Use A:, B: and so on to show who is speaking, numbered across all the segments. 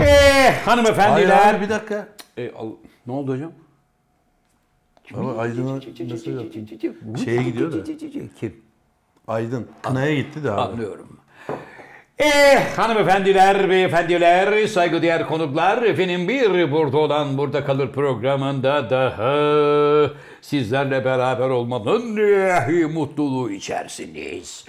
A: Ee, Hanımefendiler.
B: Hayır hayır bir dakika.
A: E, al- ne oldu hocam?
B: Baba Aydın'a mesaj attım. Şeye gidiyor da.
A: Kim?
B: Aydın. Kınaya gitti de abi.
A: Anlıyorum. Eh hanımefendiler, beyefendiler, saygıdeğer konuklar. Efendim bir burada olan burada kalır programında daha sizlerle beraber olmanın eh, mutluluğu içerisindeyiz.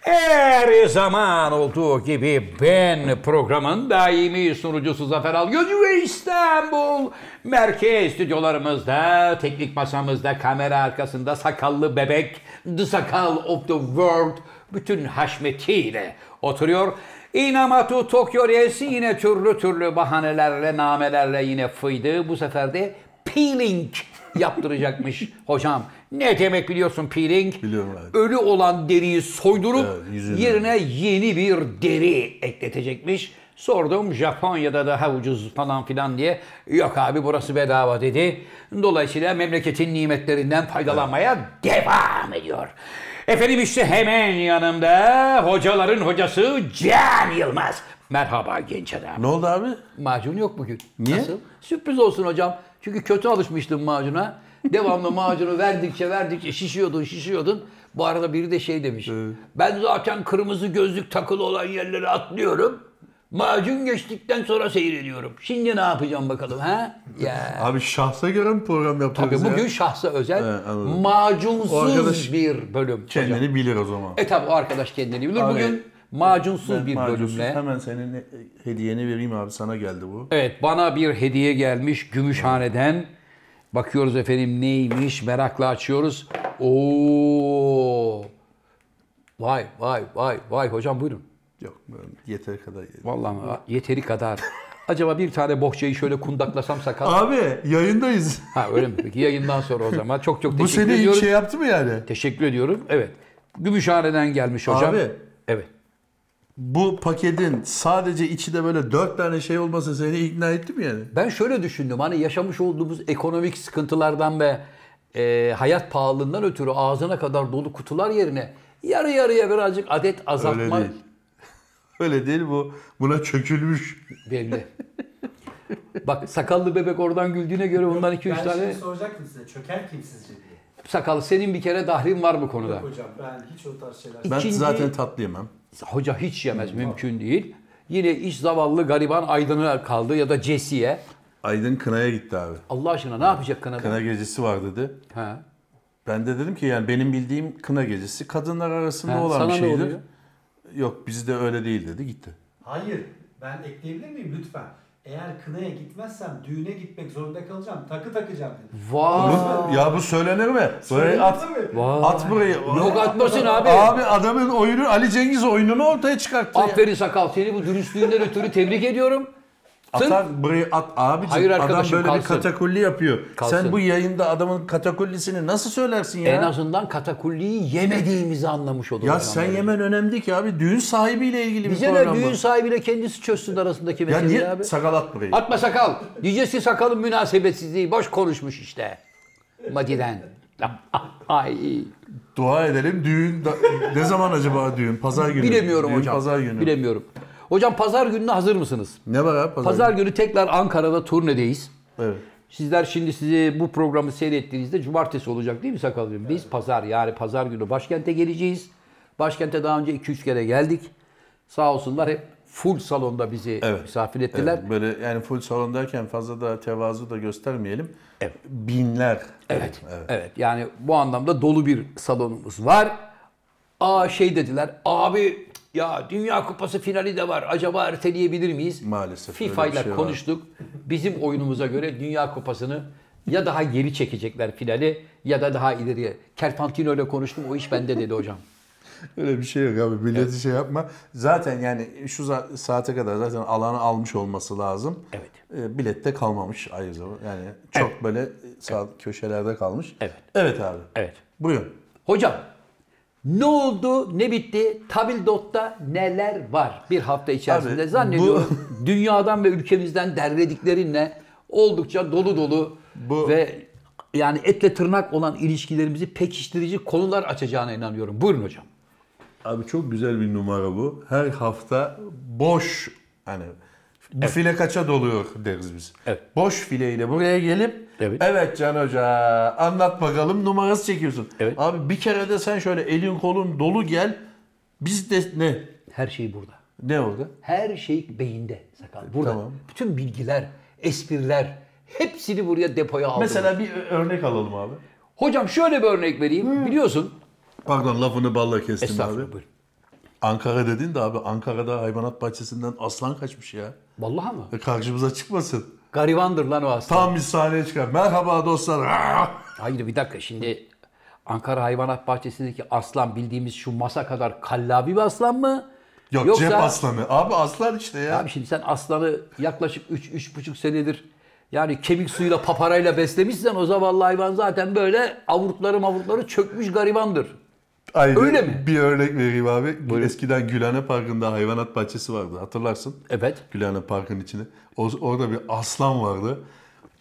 A: Her zaman olduğu gibi ben programın daimi sunucusu Zafer Algöz ve İstanbul merkez stüdyolarımızda, teknik masamızda, kamera arkasında sakallı bebek, the sakal of the world bütün haşmetiyle oturuyor. İnamatu Tokyo reisi yine türlü türlü bahanelerle, namelerle yine fıydı. Bu sefer de peeling yaptıracakmış hocam. Ne demek biliyorsun peeling?
B: Biliyorum abi.
A: Ölü olan deriyi soydurup
B: Evet, yüzünü.
A: yerine yeni bir deri ekletecekmiş. Sordum Japonya'da daha ucuz falan filan diye. Yok abi burası bedava dedi. Dolayısıyla memleketin nimetlerinden faydalanmaya devam ediyor. Efendim işte hemen yanımda hocaların hocası Can Yılmaz. Merhaba genç adam.
B: Ne oldu abi?
A: Macun yok bugün.
B: Niye?
A: Nasıl? Sürpriz olsun hocam. Çünkü kötü alışmıştım macuna. Devamlı macunu verdikçe verdikçe şişiyordun şişiyordun. Bu arada biri de şey demiş. Ben zaten kırmızı gözlük takılı olan yerlere atlıyorum. Macun geçtikten sonra seyrediyorum. Şimdi ne yapacağım bakalım ha? Ya.
B: Abi şahsa göre mi program yapıyoruz
A: Tabii
B: ya?
A: bugün şahsa özel
B: He, anladım. O
A: macunsuz
B: arkadaş
A: bir bölüm. hocam.
B: Kendini bilir o zaman.
A: E tabi o arkadaş kendini bilir.
B: Abi,
A: Bugün macunsuz
B: Ben
A: bir
B: macunsuz.
A: bölümle.
B: Hemen senin he- hediyeni vereyim abi. Sana geldi bu.
A: Evet bana bir hediye gelmiş Gümüşhane'den. Bakıyoruz efendim neymiş merakla açıyoruz. Oo. Vay vay vay vay hocam buyurun.
B: Yok ben yeter kadar yedim.
A: Vallahi ama yeteri kadar. Acaba bir tane bohçayı şöyle kundaklasam sakal.
B: Abi yayındayız.
A: Ha öyle mi? Peki yayından sonra o zaman. Çok çok
B: Bu
A: teşekkür
B: seni hiç
A: ediyorum.
B: şey yaptı mı yani?
A: Teşekkür ediyorum. Evet. Gümüşhane'den gelmiş hocam.
B: Abi.
A: Evet.
B: Bu paketin sadece içi de böyle dört tane şey olması seni ikna etti mi yani?
A: Ben şöyle düşündüm hani yaşamış olduğumuz ekonomik sıkıntılardan ve e, hayat pahalılığından ötürü ağzına kadar dolu kutular yerine yarı yarıya birazcık adet
B: Öyle
A: azaltma
B: değil. Öyle değil bu. Buna çökülmüş.
A: belli. Bak sakallı bebek oradan güldüğüne göre ondan iki üç
C: Ben
A: tane
C: şimdi soracaktım size çöker kim sizce diye.
A: sakal senin bir kere dahrin var bu konuda.
C: Hocam ben hiç o tarz şeyler...
B: Ben
A: İkinci-
B: zaten tatlı yemem.
A: Hoca hiç yemez mümkün değil. Yine iş zavallı gariban aydınına kaldı ya da Cesi'ye.
B: Aydın Kına'ya gitti abi.
A: Allah aşkına ne yapacak kanada?
B: Kına gecesi var dedi.
A: Ha.
B: Ben de dedim ki yani benim bildiğim kına gecesi kadınlar arasında
A: Ha,
B: olan
A: sana
B: bir
A: ne
B: şeydir.
A: oluyor?
B: Yok bizde öyle değil dedi gitti.
C: Hayır ben ekleyebilir miyim lütfen? Eğer kınaya gitmezsem düğüne gitmek zorunda kalacağım. Takı takacağım dedim.
A: Vay.
B: Ya bu söylenir mi? Böyle at,
A: Vay.
B: at burayı.
A: Yok atmasın abi.
B: Abi adamın oyunu Ali Cengiz oyununu ortaya çıkarttı. ya.
A: Aferin sakal seni bu dürüstlüğünden ötürü tebrik ediyorum. Sen-
B: Atar burayı at abicim.
A: Hayır
B: adam
A: arkadaşım,
B: böyle bir
A: kalsın.
B: katakulli yapıyor.
A: Kalsın.
B: Sen bu yayında adamın katakullisini nasıl söylersin ya?
A: En azından katakulliyi yemediğimizi anlamış olur.
B: ya
A: adam
B: sen
A: böyle.
B: yemen önemli değil ki abi. Düğün sahibiyle ilgili bir
A: Bize ne
B: program
A: düğün
B: bu.
A: sahibiyle kendisi çözsün arasındaki
B: Ya
A: meseleyi
B: niye
A: abi.
B: sakal at burayı?
A: Atma sakal. Diyeceksin sakalın münasebetsizliği. Boş konuşmuş işte. Madiden. Ay.
B: Dua edelim düğün da- ne zaman acaba düğün? Pazar günü.
A: Bilemiyorum
B: Düğün
A: hocam.
B: Pazar günü.
A: Bilemiyorum. Hocam pazar gününe hazır mısınız?
B: Ne var abi pazar,
A: Pazar
B: pazar...
A: günü tekrar Ankara'da turnedeyiz.
B: günü? Evet.
A: Sizler şimdi sizi bu programı seyrettiğinizde cumartesi olacak değil mi Sakalcığım? Biz pazar yani pazar günü başkente geleceğiz. Başkente daha önce 2-3 kere geldik. Sağ olsunlar hep full salonda bizi
B: Evet.
A: misafir ettiler.
B: Evet, böyle yani full salondayken fazla da tevazu da göstermeyelim.
A: Evet.
B: Binler.
A: Evet. Evet. Yani bu anlamda dolu bir salonumuz var. Aa şey dediler. Abi ya Dünya Kupası finali de var. Acaba erteleyebilir miyiz?
B: Maalesef öyle bir
A: FIFA ile
B: şey var.
A: konuştuk. Bizim oyunumuza göre Dünya Kupası'nı ya daha geri çekecekler finali ya da daha ileriye. Kerpantino ile konuştum. O iş bende dedi hocam.
B: Öyle bir şey yok abi. Milleti şey yapma. Zaten yani şu za- saate kadar zaten alanı almış olması lazım.
A: Evet.
B: E, bilette kalmamış ayrı zaman. Yani çok böyle sağ köşelerde kalmış.
A: Evet.
B: Evet abi.
A: Evet.
B: Buyurun.
A: Hocam ne oldu, ne bitti? Tabildot'ta neler var? Bir hafta içerisinde
B: Abi,
A: zannediyorum dünyadan ve ülkemizden derlediklerinle oldukça dolu dolu
B: Bu-
A: ve yani etle tırnak olan ilişkilerimizi pekiştirici konular açacağına inanıyorum. Buyurun hocam.
B: Abi çok güzel bir numara bu. Her hafta boş hani Bu file kaça doluyor deriz biz.
A: Evet.
B: Boş fileyle buraya gelip
A: Evet.
B: evet. Can Hoca anlat bakalım numarası çekiyorsun.
A: Evet.
B: Abi bir kere de sen şöyle elin kolun dolu gel. Biz de ne?
A: Her şey burada.
B: Ne orada?
A: Her şey beyinde sakal. Burada.
B: Tamam.
A: Bütün bilgiler, espriler hepsini buraya depoya aldım.
B: Mesela bir ö- örnek alalım abi.
A: Hocam şöyle bir örnek vereyim. Biliyorsun.
B: Pardon lafını balla kestim Hmm. abi.
A: Estağfurullah buyurun.
B: Ankara dedin de abi Ankara'da hayvanat bahçesinden aslan kaçmış ya.
A: Vallahi mı?
B: E, Karşımıza çıkmasın.
A: Garibandır lan o aslan.
B: Tam bir sahneye çıkar. Merhaba dostlar. Ah!
A: Hayır bir dakika şimdi Ankara Hayvanat Bahçesi'ndeki aslan bildiğimiz şu masa kadar kallavi bir aslan mı?
B: Yok cep aslanı. Abi aslan işte ya.
A: Abi şimdi sen aslanı yaklaşık 3-3,5 senedir yani kemik suyuyla paparayla beslemişsen o zavallı hayvan zaten böyle avurtları mavurtları çökmüş garibandır.
B: Aynen.
A: Öyle mi?
B: Bir örnek vereyim abi. Eskiden Gülhane Parkı'nda hayvanat bahçesi vardı hatırlarsın.
A: Evet.
B: Gülhane Parkı'nın içinde. O, orada bir aslan vardı.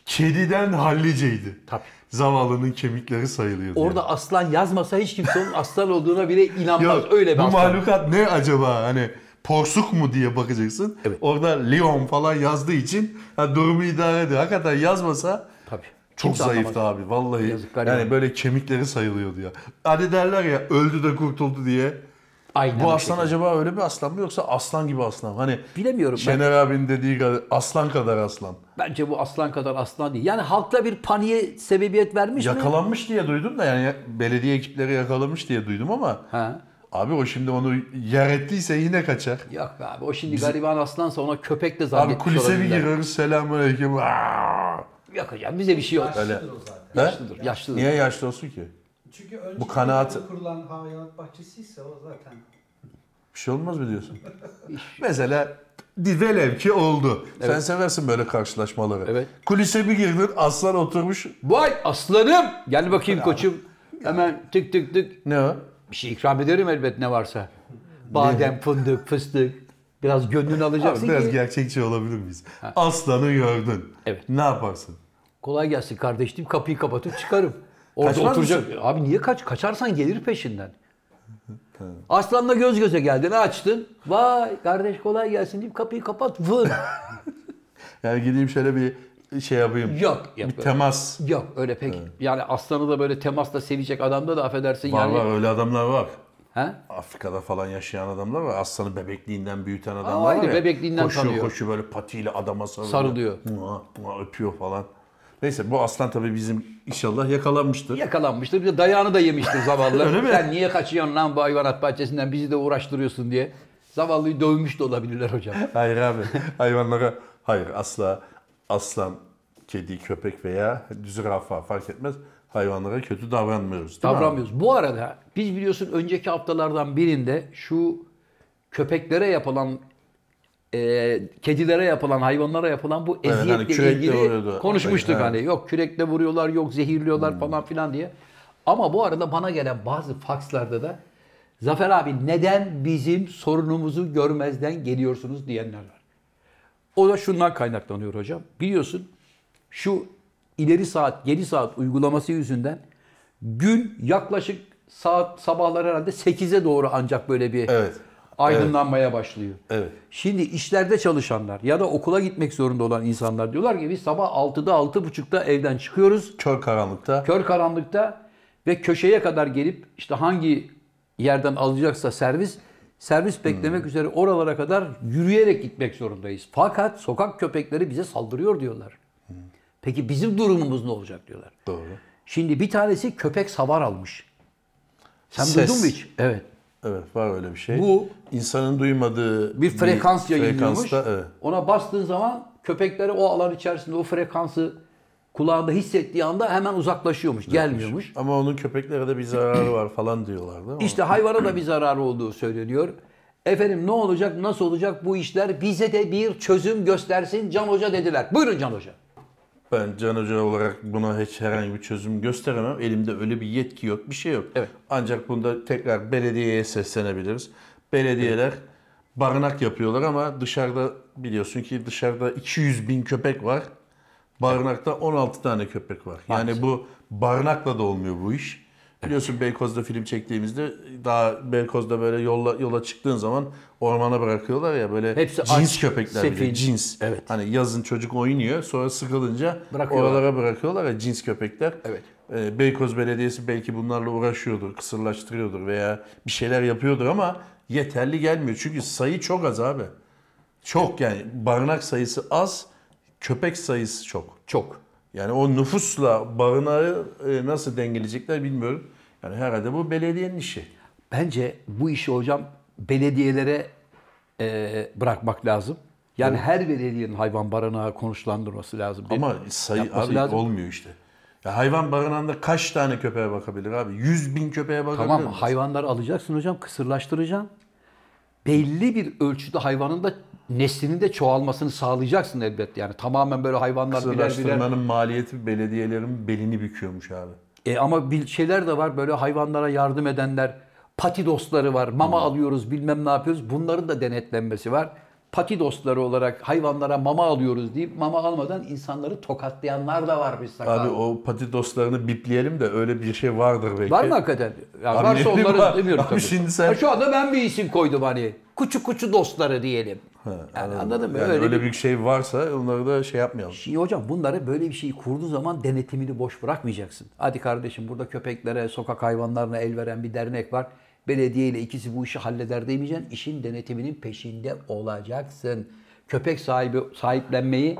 B: Kediden halliceydi.
A: Tabii.
B: Zavallının kemikleri sayılıyordu.
A: Orada aslan yazmasa hiç kimse onun aslan olduğuna bile
B: yani.
A: inanmaz.
B: Yok,
A: Öyle bir
B: bu
A: aslan.
B: mahlukat ne acaba hani porsuk mu diye bakacaksın.
A: Evet.
B: Orada Leon falan yazdığı için ha, durumu idare ediyor. Hakikaten yazmasa
A: Tabii.
B: çok
A: Kimse
B: zayıftı
A: anlamaz.
B: abi vallahi.
A: Yazıklar
B: yani
A: yani.
B: böyle kemikleri sayılıyordu ya. Hani derler ya öldü de kurtuldu diye.
A: Aynen
B: Bu
A: o
B: aslan
A: şekilde.
B: acaba öyle bir aslan mı yoksa aslan gibi aslan? mı? Hani
A: Bilemiyorum ben.
B: Şener abinin dediği kadar aslan kadar aslan.
A: Bence bu aslan kadar aslan değil. Yani halkta bir paniğe sebebiyet vermiş mi?
B: Yakalanmış diye duydum da yani ya- belediye ekipleri yakalamış diye duydum ama
A: Ha.
B: abi o şimdi onu yer ettiyse yine kaçar.
A: Yok be abi o şimdi gariban aslansa ona köpek de
B: Abi
A: zannetmiş
B: kulise bir
A: olabilirler.
B: gireriz selamünaleyküm. Aa!
A: Yok hocam bize bir şey yok.
C: Yaşlıdır o zaten.
B: He?
A: Yaşlıdır, yaşlıdır.
B: Niye yaşlı olsun ki?
C: Çünkü önce
B: Bu kanaati-
C: kurulan hayvanat bahçesiyse o zaten.
B: Bir şey olmaz mı diyorsun? Mesela di- velev ki oldu. Sen seversin böyle karşılaşmaları.
A: Evet.
B: Kulise bir girdin aslan oturmuş.
A: Vay aslanım! Gel bakayım koçum. Hemen tık tık tık.
B: Ne o?
A: Bir şey ikram ederim elbet ne varsa. Badem, fındık, fıstık. Biraz gönlünü
B: Abi
A: alacaksın
B: biraz
A: ki.
B: gerçekçi olabilir miyiz? Aslanı gördün.
A: Evet.
B: Ne yaparsın?
A: Kolay gelsin kardeş deyip kapıyı kapatıp çıkarım. Orada
B: Kaçmaz
A: oturacak. Abi niye kaç? Kaçarsan gelir peşinden. Aslanla göz göze geldin açtın. Vay kardeş kolay gelsin deyip kapıyı kapat vır.
B: Yani gideyim şöyle bir şey yapayım.
A: Yok.
B: bir
A: Yok,
B: temas.
A: yok öyle pek. Yani aslanı da böyle temasla sevecek adamda da affedersin
B: Var
A: yani.
B: var öyle adamlar var.
A: Ha?
B: Afrika'da falan yaşayan adamlar var. Aslanı bebekliğinden büyüten adamlar
A: ayrı,
B: var ya.
A: bebekliğinden
B: koşuyor,
A: tanıyor.
B: Koşuyor böyle patiyle adama sarılıyor.
A: Sarılıyor.
B: Mua, mua öpüyor falan. Neyse bu aslan tabii bizim inşallah yakalanmıştır.
A: Yakalanmıştır. Bir de dayağını da yemiştir zavallı.
B: Öyle mi?
A: Sen niye kaçıyorsun lan bu hayvanat bahçesinden bizi de uğraştırıyorsun diye. Zavallıyı dövmüş de olabilirler hocam.
B: Hayır abi. Hayvanlara hayır asla aslan, kedi, köpek veya zürafa fark etmez. Hayvanlara kötü davranmıyoruz. değil mi abi?
A: Davranmıyoruz. Bu arada biz biliyorsun önceki haftalardan birinde şu köpeklere yapılan e, kedilere yapılan, hayvanlara yapılan bu
B: Evet,
A: eziyetle
B: hani kürekle
A: ilgili
B: vuruyordu.
A: konuşmuştuk
B: Evet. Hmm.
A: hani. Yok kürekle vuruyorlar, yok zehirliyorlar falan filan diye. Ama bu arada bana gelen bazı fakslarda da Zafer abi neden bizim sorunumuzu görmezden geliyorsunuz diyenler var. O da şundan kaynaklanıyor hocam. Biliyorsun şu ileri saat, geri saat uygulaması yüzünden gün yaklaşık saat sabahlar herhalde 8'e doğru ancak böyle bir
B: Evet.
A: aydınlanmaya başlıyor.
B: Evet.
A: Şimdi işlerde çalışanlar ya da okula gitmek zorunda olan insanlar diyorlar ki biz sabah 6'da 6.30'da evden çıkıyoruz.
B: Kör karanlıkta.
A: Kör karanlıkta ve köşeye kadar gelip işte hangi yerden alacaksa servis servis beklemek
B: Hmm.
A: üzere oralara kadar yürüyerek gitmek zorundayız. Fakat sokak köpekleri bize saldırıyor diyorlar. Peki bizim durumumuz ne olacak diyorlar.
B: Hmm. Doğru.
A: Şimdi bir tanesi köpek savar almış. Sen
B: Ses.
A: duydun mu hiç? Evet.
B: Evet var öyle bir şey.
A: Bu-
B: insanın duymadığı
A: Bir frekans yayınlıyormuş.
B: frekansta, evet.
A: Ona bastığın zaman köpekleri o alan içerisinde o frekansı kulağında hissettiği anda hemen uzaklaşıyormuş, gelmiyormuş.
B: Ama onun köpeklere de bir zararı var falan diyorlardı. Ama
A: İşte hayvana da bir zararı olduğu söyleniyor. Efendim ne olacak, nasıl olacak bu işler? Bize de bir çözüm göstersin Can Hoca dediler. Buyurun Can Hoca.
B: Ben Can Hoca olarak buna hiç herhangi bir çözüm gösteremem. Elimde öyle bir yetki yok, bir şey yok.
A: Evet.
B: Ancak bunda tekrar belediyeye seslenebiliriz. Belediyeler barınak yapıyorlar ama dışarıda biliyorsun ki dışarıda 200 bin köpek var. Barınakta 16 tane köpek var. Yani bu barınakla da olmuyor bu iş. Biliyorsun Beykoz'da film çektiğimizde daha Beykoz'da böyle yola, yola çıktığın zaman ormana bırakıyorlar ya böyle
A: Hepsi
B: cins
A: aç,
B: köpekler bile,
A: sefil.
B: cins.
A: Evet.
B: Hani yazın çocuk oynuyor sonra sıkılınca
A: Bırakıyorlar.
B: oralara bırakıyorlar ya cins köpekler.
A: Evet.
B: Ee, Beykoz Belediyesi belki bunlarla uğraşıyordur, kısırlaştırıyordur veya bir şeyler yapıyordur ama yeterli gelmiyor. Çünkü sayı çok az abi. Çok yani barınak sayısı az, köpek sayısı çok.
A: Çok.
B: Yani o nüfusla barınağı e, nasıl dengeleyecekler bilmiyorum. Yani herhalde bu belediyenin işi.
A: Bence bu işi hocam belediyelere e, bırakmak lazım. Yani her belediyenin hayvan barınağı konuşlandırması lazım. değil mi?
B: Ama sayı
A: Yapması
B: abi
A: lazım.
B: olmuyor işte. Ya hayvan barınağında kaç tane köpeğe bakabilir abi? 100 bin köpeğe bakabilir
A: Tamam
B: mi?
A: hayvanları alacaksın hocam kısırlaştıracaksın. Belli bir ölçüde hayvanın da neslinin de çoğalmasını sağlayacaksın elbette. Yani tamamen böyle hayvanlar birer birer
B: Kısırlaştırmanın maliyeti belediyelerin belini büküyormuş abi.
A: E ama bir şeyler de var böyle hayvanlara yardım edenler, pati dostları var, mama
B: Hmm.
A: alıyoruz bilmem ne yapıyoruz. Bunların da denetlenmesi var. Pati dostları olarak hayvanlara mama alıyoruz deyip mama almadan insanları tokatlayanlar da var biz sakal.
B: Abi o pati dostlarını bipleyelim de öyle bir şey vardır belki.
A: Var mı hakikaten? Yani
B: Abi
A: varsa
B: ne bileyim
A: onları
B: abi.
A: demiyorum
B: Abi
A: tabii.
B: şimdi sen-
A: Ha Şu anda ben bir isim koydum hani. Kuçu kuçu dostları diyelim. yani anladın mı?
B: Yani
A: öyle,
B: öyle,
A: bir...
B: bir şey varsa onları da şey yapmayalım.
A: Şimdi hocam bunları böyle bir şeyi kurduğu zaman denetimini boş bırakmayacaksın. Hadi kardeşim burada köpeklere, sokak hayvanlarına el veren bir dernek var. Belediye ile ikisi bu işi halleder demeyeceksin. İşin denetiminin peşinde olacaksın. Köpek sahibi sahiplenmeyi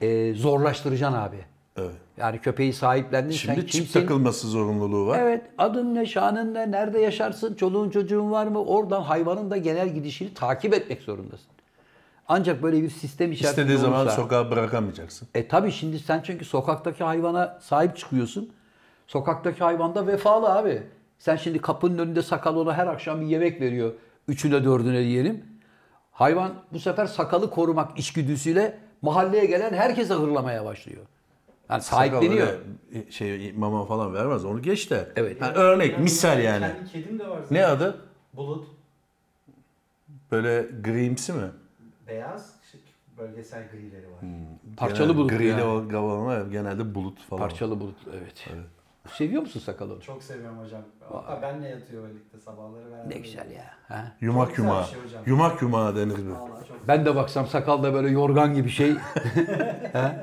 A: e, zorlaştıracaksın abi.
B: Evet.
A: Yani köpeği sahiplendin
B: Şimdi
A: sen
B: çip
A: kimsin?
B: takılması zorunluluğu var.
A: Evet adın ne, şanın ne, nerede yaşarsın, çoluğun çocuğun var mı? Oradan hayvanın da genel gidişini takip etmek zorundasın. Ancak böyle bir sistem içerisinde
B: İstediği zaman
A: olursa-
B: sokağa bırakamayacaksın.
A: E tabii şimdi sen çünkü sokaktaki hayvana sahip çıkıyorsun. Sokaktaki hayvan da vefalı abi. Sen şimdi kapının önünde sakal ona her akşam bir yemek veriyor. Üçüne dördüne diyelim. Hayvan bu sefer sakalı korumak içgüdüsüyle mahalleye gelen herkese hırlamaya başlıyor. Yani sahipleniyor.
B: Sakal öyle Şey mama falan vermez. Onu geç de.
A: Evet.
B: Ha, örnek,
C: Yani
B: misal
C: benim
B: yani.
C: Kendi kedim de var zaten.
B: Ne adı?
C: Bulut,
B: Böyle grimsi mi?
C: beyaz, şık, bölgesel grileri var.
A: Parçalı
B: Genelde
A: bulut
B: Griyle
A: yani.
B: o gavalama genelde bulut falan.
A: Parçalı bulut evet. Seviyor musun sakalı?
C: Çok seviyorum hocam. Hatta benle yatıyor birlikte sabahları beraber.
A: Ne güzel ya. Ha?
B: Yumak
C: Çok güzel
B: yumağı.
C: bir şey hocam.
B: yumak yumağı denir bu.
C: Vallahi çok
A: Ben de baksam sakal da böyle yorgan gibi şey. Ha?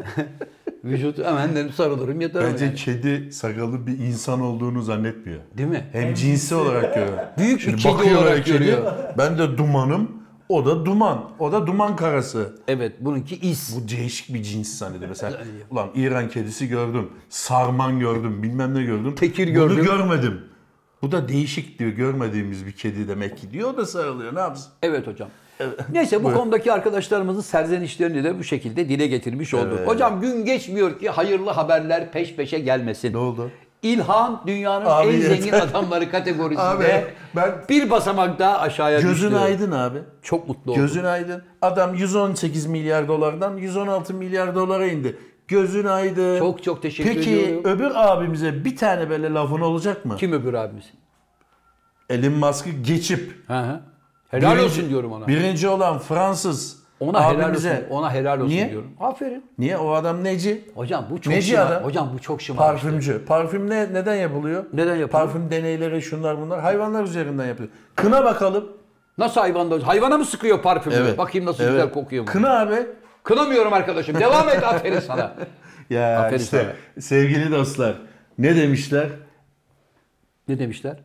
A: Vücut hemen dedim sarılırım yatarım.
B: Bence
A: yani.
B: kedi sakalı bir insan olduğunu zannetmiyor.
A: Değil mi?
B: Hem cinsi olarak görüyor.
A: Büyük bir
B: Şimdi
A: kedi
B: bakıyor böyle
A: olarak
B: kediye,
A: görüyor.
B: Ben de dumanım. O da duman. O da duman karası.
A: Evet bununki is.
B: Bu değişik bir cins zannediyor. Mesela ulan İran kedisi gördüm. Sarman gördüm. Bilmem ne gördüm.
A: Tekir
B: Bunu
A: gördüm.
B: görmedim. Bu da değişik diyor. Görmediğimiz bir kedi demek ki diyor. O da sarılıyor. Ne yapsın?
A: Evet hocam. Neyse bu konudaki arkadaşlarımızın serzenişlerini de bu şekilde dile getirmiş olduk.
B: Evet.
A: Hocam gün geçmiyor ki hayırlı haberler peş peşe gelmesin.
B: Ne oldu?
A: İlhan dünyanın
B: Abi
A: en
B: yeter.
A: zengin adamları kategorisinde
B: Abi ben-
A: bir basamak daha aşağıya düştü.
B: Gözün aydın abi.
A: Çok mutlu oldum.
B: Gözün aydın. Adam 118 milyar dolardan 116 milyar dolara indi. Gözün aydın.
A: Çok çok teşekkür
B: Peki,
A: ediyorum.
B: öbür abimize bir tane böyle lafın olacak mı?
A: Kim öbür abimiz?
B: Elon Musk'ı geçip
A: Hı hı. Helal
B: Birinci-
A: olsun diyorum ona.
B: Birinci olan Fransız
A: ona helal
B: abimize.
A: olsun. Ona helal olsun
B: Niye?
A: diyorum. Aferin.
B: Niye? O adam neci?
A: Hocam bu çok
B: Neci
A: şımar-
B: adam?
A: Hocam bu çok şımar.
B: Parfümcü. Parfüm ne neden yapılıyor?
A: Neden yapılıyor?
B: Parfüm deneyleri şunlar bunlar hayvanlar üzerinden yapılıyor. Kına bakalım.
A: Nasıl hayvanda? Hayvana mı sıkıyor parfümü? Bakayım nasıl
B: Evet.
A: güzel kokuyor mu?
B: Kına abi.
A: Kınamıyorum arkadaşım. Devam et aferin sana.
B: Ya
A: Aferin
B: işte sevgili dostlar ne demişler?
A: Ne demişler?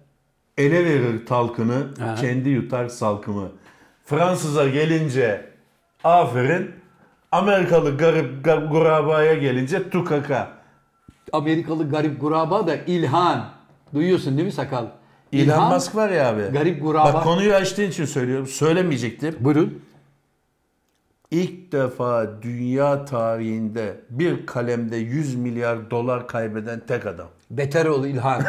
B: Ele verir talkını,
A: Ha.
B: kendi yutar salkımı. Fransız'a gelince aferin, Amerikalı garip gar- gurabaya gelince tukaka.
A: Amerikalı garip guraba da İlhan. Duyuyorsun değil mi sakal?
B: İlhan, Musk var ya abi.
A: garip guraba.
B: Bak konuyu açtığın için söylüyorum. Söylemeyecektim.
A: Buyurun.
B: İlk defa dünya tarihinde bir kalemde 100 milyar dolar kaybeden tek adam.
A: Beterol İlhan.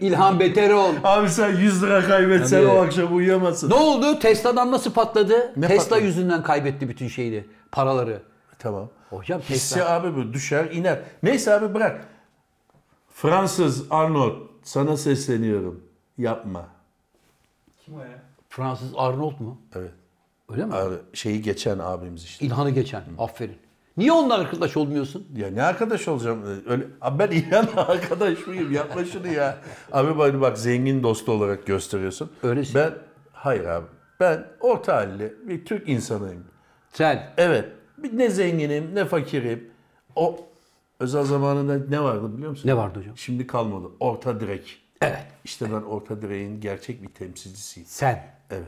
A: İlhan Beterol.
B: Abi sen 100 lira kaybetsen
A: Abi-
B: o akşam uyuyamazsın.
A: Ne oldu? Tesla'dan nasıl patladı?
B: Ne
A: Tesla
B: patladı?
A: yüzünden kaybetti bütün şeyini. Paraları.
B: Tamam.
A: Hocam Tesla.
B: Hissi abi bu düşer iner. Neyse abi bırak. Fransız Arnold sana sesleniyorum. Yapma.
C: Kim o ya?
A: Fransız Arnold mu?
B: Evet.
A: Öyle mi?
B: Abi, şeyi geçen abimiz işte.
A: İlhan'ı geçen. Aferin. Niye onunla arkadaş olmuyorsun?
B: Ya ne arkadaş olacağım? Öyle, abi ben İlhan arkadaş mıyım? Yapma şunu ya. Abi bana bak zengin dostu olarak gösteriyorsun.
A: Öylesin.
B: Ben, hayır abi. Ben orta halli bir Türk insanıyım.
A: Sen.
B: Evet. bir- Ne zenginim ne fakirim. O özel zamanında ne vardı biliyor musun?
A: Ne vardı hocam?
B: Şimdi kalmadı. Orta direk.
A: Evet.
B: İşte ben orta direğin gerçek bir temsilcisiyim.
A: Sen.
B: Evet.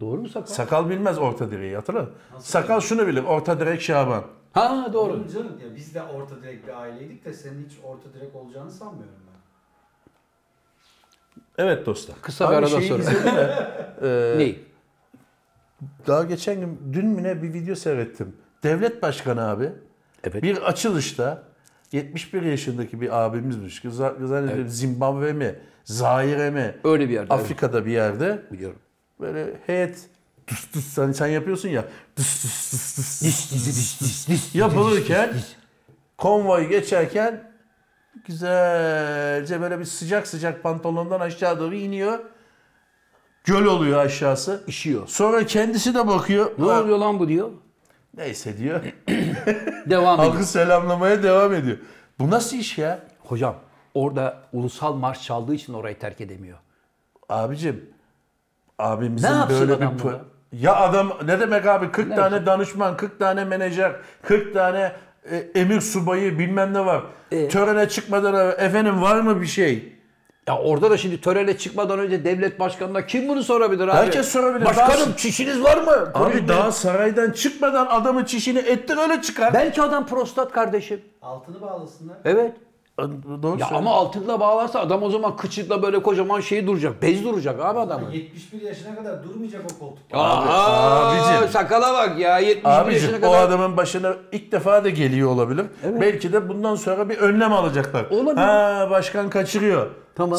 A: Doğru mu sakal?
B: Sakal bilmez orta direği hatırlar mısın? Sakal şunu bilir. Orta direk Şaban.
A: ha doğru.
C: Oğlum canım ya biz de orta direkt bir aileydik de senin hiç orta direkt olacağını sanmıyorum ben.
B: Evet dostlar.
A: Kısa bir
B: Abi
A: arada
B: şeyi
A: sonra.
B: izledin mi?
A: Neyi?
B: Daha geçen gün dün mü ne bir video seyrettim. Devlet Başkanı abi
A: Evet.
B: bir açılışta 71 yaşındaki bir abimizmiş. ki za- Zannediyorum Zimbabwe mi? Zaire mi?
A: Öyle bir yerde.
B: Afrika'da bir yerde.
A: Biliyorum.
B: Böyle heyet tıs tıs sen, sen yapıyorsun ya. Tıs tıs tıs tıs
A: Dis, dis, dis, dis, dis.
B: yapılırken konvoy geçerken güzelce böyle bir sıcak sıcak pantolondan aşağı doğru iniyor. Göl oluyor aşağısı.
A: İşiyor.
B: Sonra kendisi de bakıyor.
A: Ne
B: "Ulan
A: oluyor lan bu diyor.
B: Neyse diyor.
A: Devam ediyor.
B: Halkı selamlamaya devam ediyor. Bu nasıl iş ya?
A: Hocam orada ulusal marş çaldığı için orayı terk edemiyor.
B: Abicim. Abimizin
A: Ne yapsın
B: böyle bir...
A: adam
B: pro-
A: buna?
B: Ya adam ne demek abi 40 tane
A: yapsın?
B: danışman, 40 tane menajer, 40 tane e, emir subayı bilmem ne var.
A: E?
B: Törene çıkmadan evvel, efendim var mı bir şey?
A: Ya orada da şimdi törene çıkmadan önce devlet başkanına kim bunu sorabilir abi?
B: Herkes sorabilir.
A: Başkanım
B: Daha-
A: çişiniz var mı?
B: Abi daha saraydan çıkmadan adamın çişini ettir öyle çıkar.
A: Belki adam prostat kardeşim.
C: Altını bağlasınlar.
A: Evet.
B: Doğru
A: Ya
B: söylüyorsun.
A: ama altınla bağlarsa adam o zaman kıçıkla böyle kocaman şey duracak. Bez duracak abi adamın.
C: 71 yaşına kadar durmayacak o koltuk.
A: Abi,
B: abicim.
A: Sakala bak ya 71 yaşına
B: Abicim o
A: kadar.
B: adamın başına ilk defa da geliyor olabilir. Belki de bundan sonra bir önlem alacaklar.
A: Olabilir.
B: Ha başkan kaçırıyor.
A: Tamam.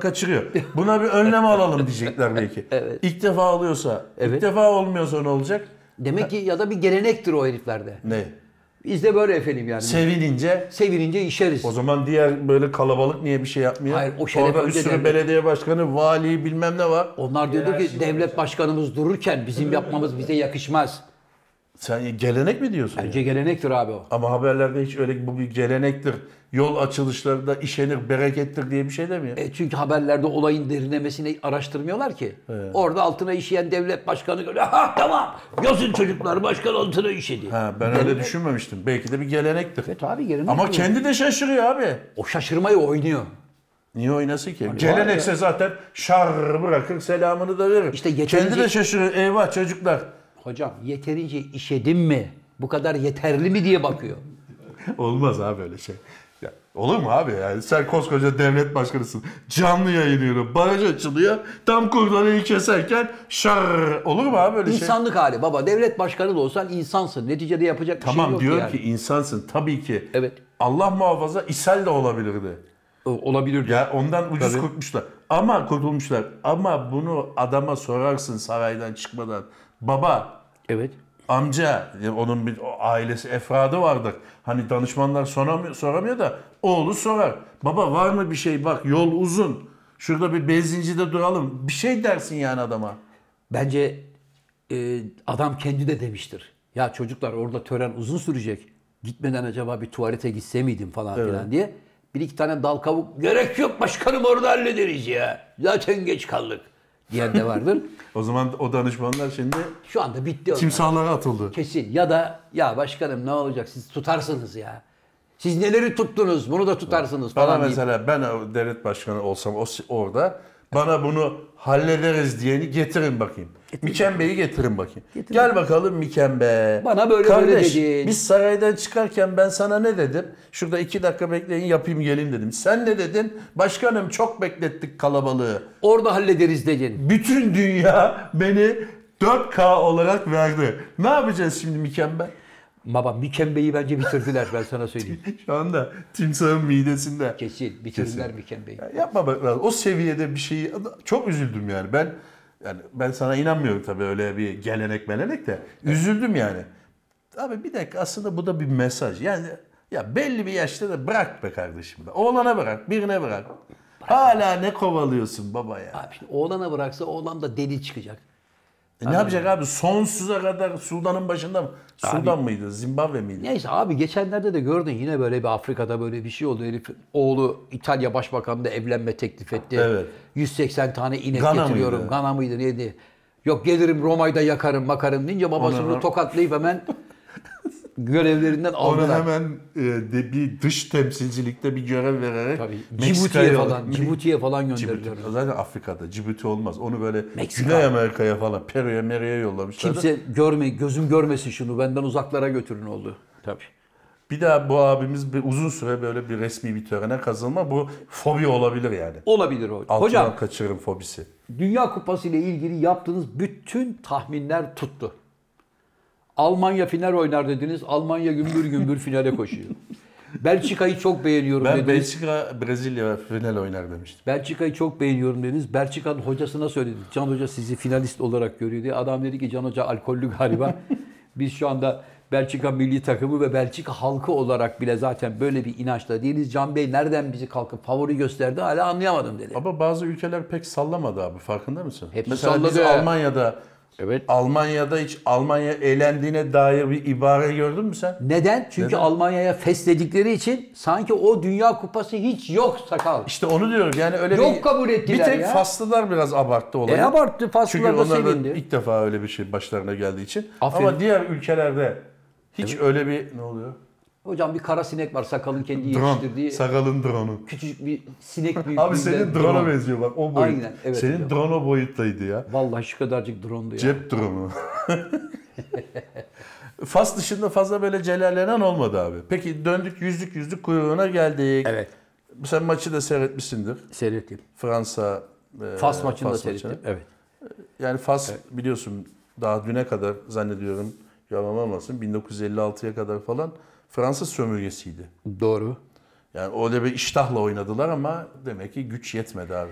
B: kaçırıyor. Buna bir önlem alalım diyecekler belki.
A: Evet.
B: İlk defa alıyorsa,
A: Evet.
B: ilk defa olmuyorsa ne olacak?
A: Demek ki ya da bir gelenektir o heriflerde.
B: Ne?
A: Bizde böyle efendim yani.
B: Sevinince
A: Sevinince işeriz.
B: o zaman diğer böyle kalabalık niye bir şey yapmıyor?
A: Hayır, o şeref
B: Orada bir
A: önce
B: sürü
A: devlet-
B: belediye başkanı, vali bilmem ne var.
A: Onlar diyordu ki
C: Hiyerarşi
A: devlet
C: olacak.
A: başkanımız dururken bizim yapmamız bize yakışmaz.
B: Sen gelenek mi diyorsun? ya?
A: Bence gelenektir abi o.
B: Ama haberlerde hiç öyle bu bir gelenektir. Yol açılışlarında işenir, berekettir diye bir şey demiyor.
A: E çünkü haberlerde olayın derinlemesini araştırmıyorlar ki. Orada altına işeyen devlet başkanı görüyor. Ha tamam yazın çocuklar başkan altına E, işedi.
B: Ha, ben öyle düşünmemiştim. Belki de bir gelenektir.
A: Evet abi gelenek.
B: Ama
A: bu.
B: kendi de şaşırıyor abi.
A: O şaşırmayı oynuyor.
B: Niye oynasın ki?
A: var
B: Gelenekse zaten şar bırakır selamını da verir.
A: İşte
B: Kendi
A: yeterince-
B: de şaşırıyor. Eyvah çocuklar.
A: Hocam yeterince işedim mi? Bu kadar yeterli mi diye bakıyor.
B: Olmaz abi öyle şey. Ya, olur mu abi? Yani sen koskoca devlet başkanısın. Canlı yayınlıyor. Baraj açılıyor. Tam kurdanayı keserken şar. Olur mu abi öyle şey?
A: İnsanlık hali baba. Devlet başkanı da olsan insansın. Neticede yapacak bir şey
B: Tamam
A: yok
B: diyorum
A: yani.
B: ki insansın tabii ki.
A: Evet.
B: Allah muhafaza ishal de olabilirdi.
A: O- Olabilir.
B: Ya ondan ucuz
A: Tabii.
B: kurtmuşlar. Ama kurtulmuşlar. Ama bunu adama sorarsın saraydan çıkmadan. Baba,
A: Evet.
B: amca, ya onun bir o ailesi efradı vardır. Hani danışmanlar soramıyor, soramıyor da oğlu sorar. Baba var mı bir şey? Bak yol uzun. Şurada bir benzincide duralım. Bir şey dersin yani adama.
A: Bence e, adam kendi de demiştir. Ya çocuklar orada tören uzun sürecek. Gitmeden acaba bir tuvalete gitse miydim falan filan diye. Bir iki tane dal kavuk gerek yok başkanım orada hallederiz ya. Zaten geç kaldık diyen de vardır.
B: O zaman o danışmanlar şimdi
A: Şu anda bitti onlar.
B: timsahlara atıldı.
A: Kesin. Ya da ya başkanım ne olacak siz tutarsınız ya. Siz neleri tuttunuz bunu da tutarsınız
B: Bana
A: falan deyip.
B: mesela ben o devlet başkanı olsam o orada bana bunu hallederiz diyeni getirin bakayım. Mikembe'yi getirin bakayım. Gel bakalım Mikembe.
A: Bana böyle böyle
B: Kardeş,
A: dedin.
B: biz saraydan çıkarken ben sana ne dedim? Şurada iki dakika bekleyin yapayım gelin dedim. Sen ne dedin? Başkanım çok beklettik kalabalığı.
A: Orada hallederiz dedin.
B: Bütün dünya beni 4K olarak verdi. Ne yapacağız şimdi Mikembe?
A: Baba Mükembe'yi bence bitirdiler ben sana söyleyeyim.
B: Şu anda timsahın midesinde.
A: Kesin bitirdiler Mükembe'yi.
B: Ya yapma bak lan. O seviyede bir şeyi çok üzüldüm yani. Ben yani ben sana inanmıyorum tabii öyle bir gelenek melenek de. Üzüldüm yani. Abi bir dakika aslında bu da bir mesaj. Yani ya belli bir yaşta da bırak be kardeşim. be. Oğlana bırak, birine bırak. Hala ne kovalıyorsun baba ya? E
A: Abi şimdi oğlana bıraksa oğlan da deli çıkacak.
B: E ne yapacak abi? Sonsuza kadar Sudan'ın başında mı? Sudan mıydı? Zimbabwe miydi?
A: Neyse abi geçenlerde de gördün yine böyle bir Afrika'da böyle bir şey oldu. Herif oğlu İtalya Başbakanı da evlenme teklif etti.
B: Evet.
A: 180 tane inek
B: Gana
A: getiriyorum.
B: mıydı?
A: Gana mıydı neydi? Yok gelirim Roma'yı da yakarım makarım deyince babası
B: Ona-
A: bunu tokatlayıp hemen görevlerinden
B: Ona
A: aldılar.
B: hemen e, de bir dış temsilcilikte bir görev vererek
A: Tabii
B: Meksika'ya-
A: Cibuti'ye falan, Cibuti'ye falan
B: Cibuti.
A: gönderiyorlar.
B: Zaten Afrika'da Cibuti olmaz. Onu böyle
A: Meksika.
B: Güney Amerika'ya falan, Peru'ya, Meri'ye yollamışlardı.
A: Kimse görme, gözüm görmesin şunu benden uzaklara götürün oldu. Tabii.
B: Bir daha bu abimiz bir uzun süre böyle bir resmi bir törene kazılma. Bu fobi olabilir yani.
A: Olabilir o.
B: Altından
A: Hocam
B: kaçırırım fobisi.
A: Dünya Kupası ile ilgili yaptığınız bütün tahminler tuttu. Almanya final oynar dediniz. Almanya gümbür gümbür finale koşuyor. Belçika'yı çok beğeniyorum
B: Ben
A: dediniz.
B: Belçika, Brezilya final oynar demiştim.
A: Belçika'yı çok beğeniyorum dediniz. Belçika'nın hocasına söyledi. Can Hoca sizi finalist olarak görüyor diye. Adam dedi ki Can Hoca alkollü galiba. Biz şu anda Belçika milli takımı ve Belçika halkı olarak bile zaten böyle bir inançla değiliz. Can Bey nereden bizi kalkıp favori gösterdi hala anlayamadım dedi.
B: Ama bazı ülkeler pek sallamadı abi farkında mısın?
A: Hepsi
B: Mesela biz
A: salladı.
B: Almanya'da
A: Evet.
B: Almanya'da hiç Almanya eğlendiğine dair bir ibare gördün mü sen?
A: Neden? Çünkü
B: Neden?
A: Almanya'ya fesledikleri için sanki o Dünya Kupası hiç yok sakal.
B: İşte onu diyorum yani öyle
A: Yok
B: bir,
A: kabul ettiler
B: bir tek
A: ya.
B: Faslılar biraz abarttı olayı.
A: E abarttı, Faslılar
B: Çünkü
A: da
B: onlar
A: sevindi.
B: ilk defa öyle bir şey başlarına geldiği için.
A: Aferin.
B: Ama diğer ülkelerde hiç öyle bir ne oluyor?
A: Hocam bir kara sinek var sakalın kendi
B: Drone.
A: yetiştirdiği.
B: Sakalın drone'u.
A: küçücük bir sinek büyüklüğünde.
B: Abi senin drone'a
A: drone.
B: benziyor bak o boyut.
A: Aynen, evet
B: senin
A: hocam.
B: drone o boyuttaydı ya.
A: Vallahi şu kadarcık drone'du ya.
B: Cep drone'u. Fas dışında fazla böyle celallenen olmadı abi. Peki döndük yüzlük yüzlük kuyruğuna geldik.
A: Evet.
B: Sen maçı da seyretmişsindir.
A: Seyrettim.
B: Fransa e,
A: Fas maçını da seyrettim.
B: maçını.
A: Evet.
B: Yani Fas biliyorsun daha düne kadar zannediyorum yalan olmasın 1956'ya kadar falan Fransız sömürgesiydi.
A: Doğru.
B: Yani öyle bir iştahla oynadılar ama demek ki güç yetmedi abi.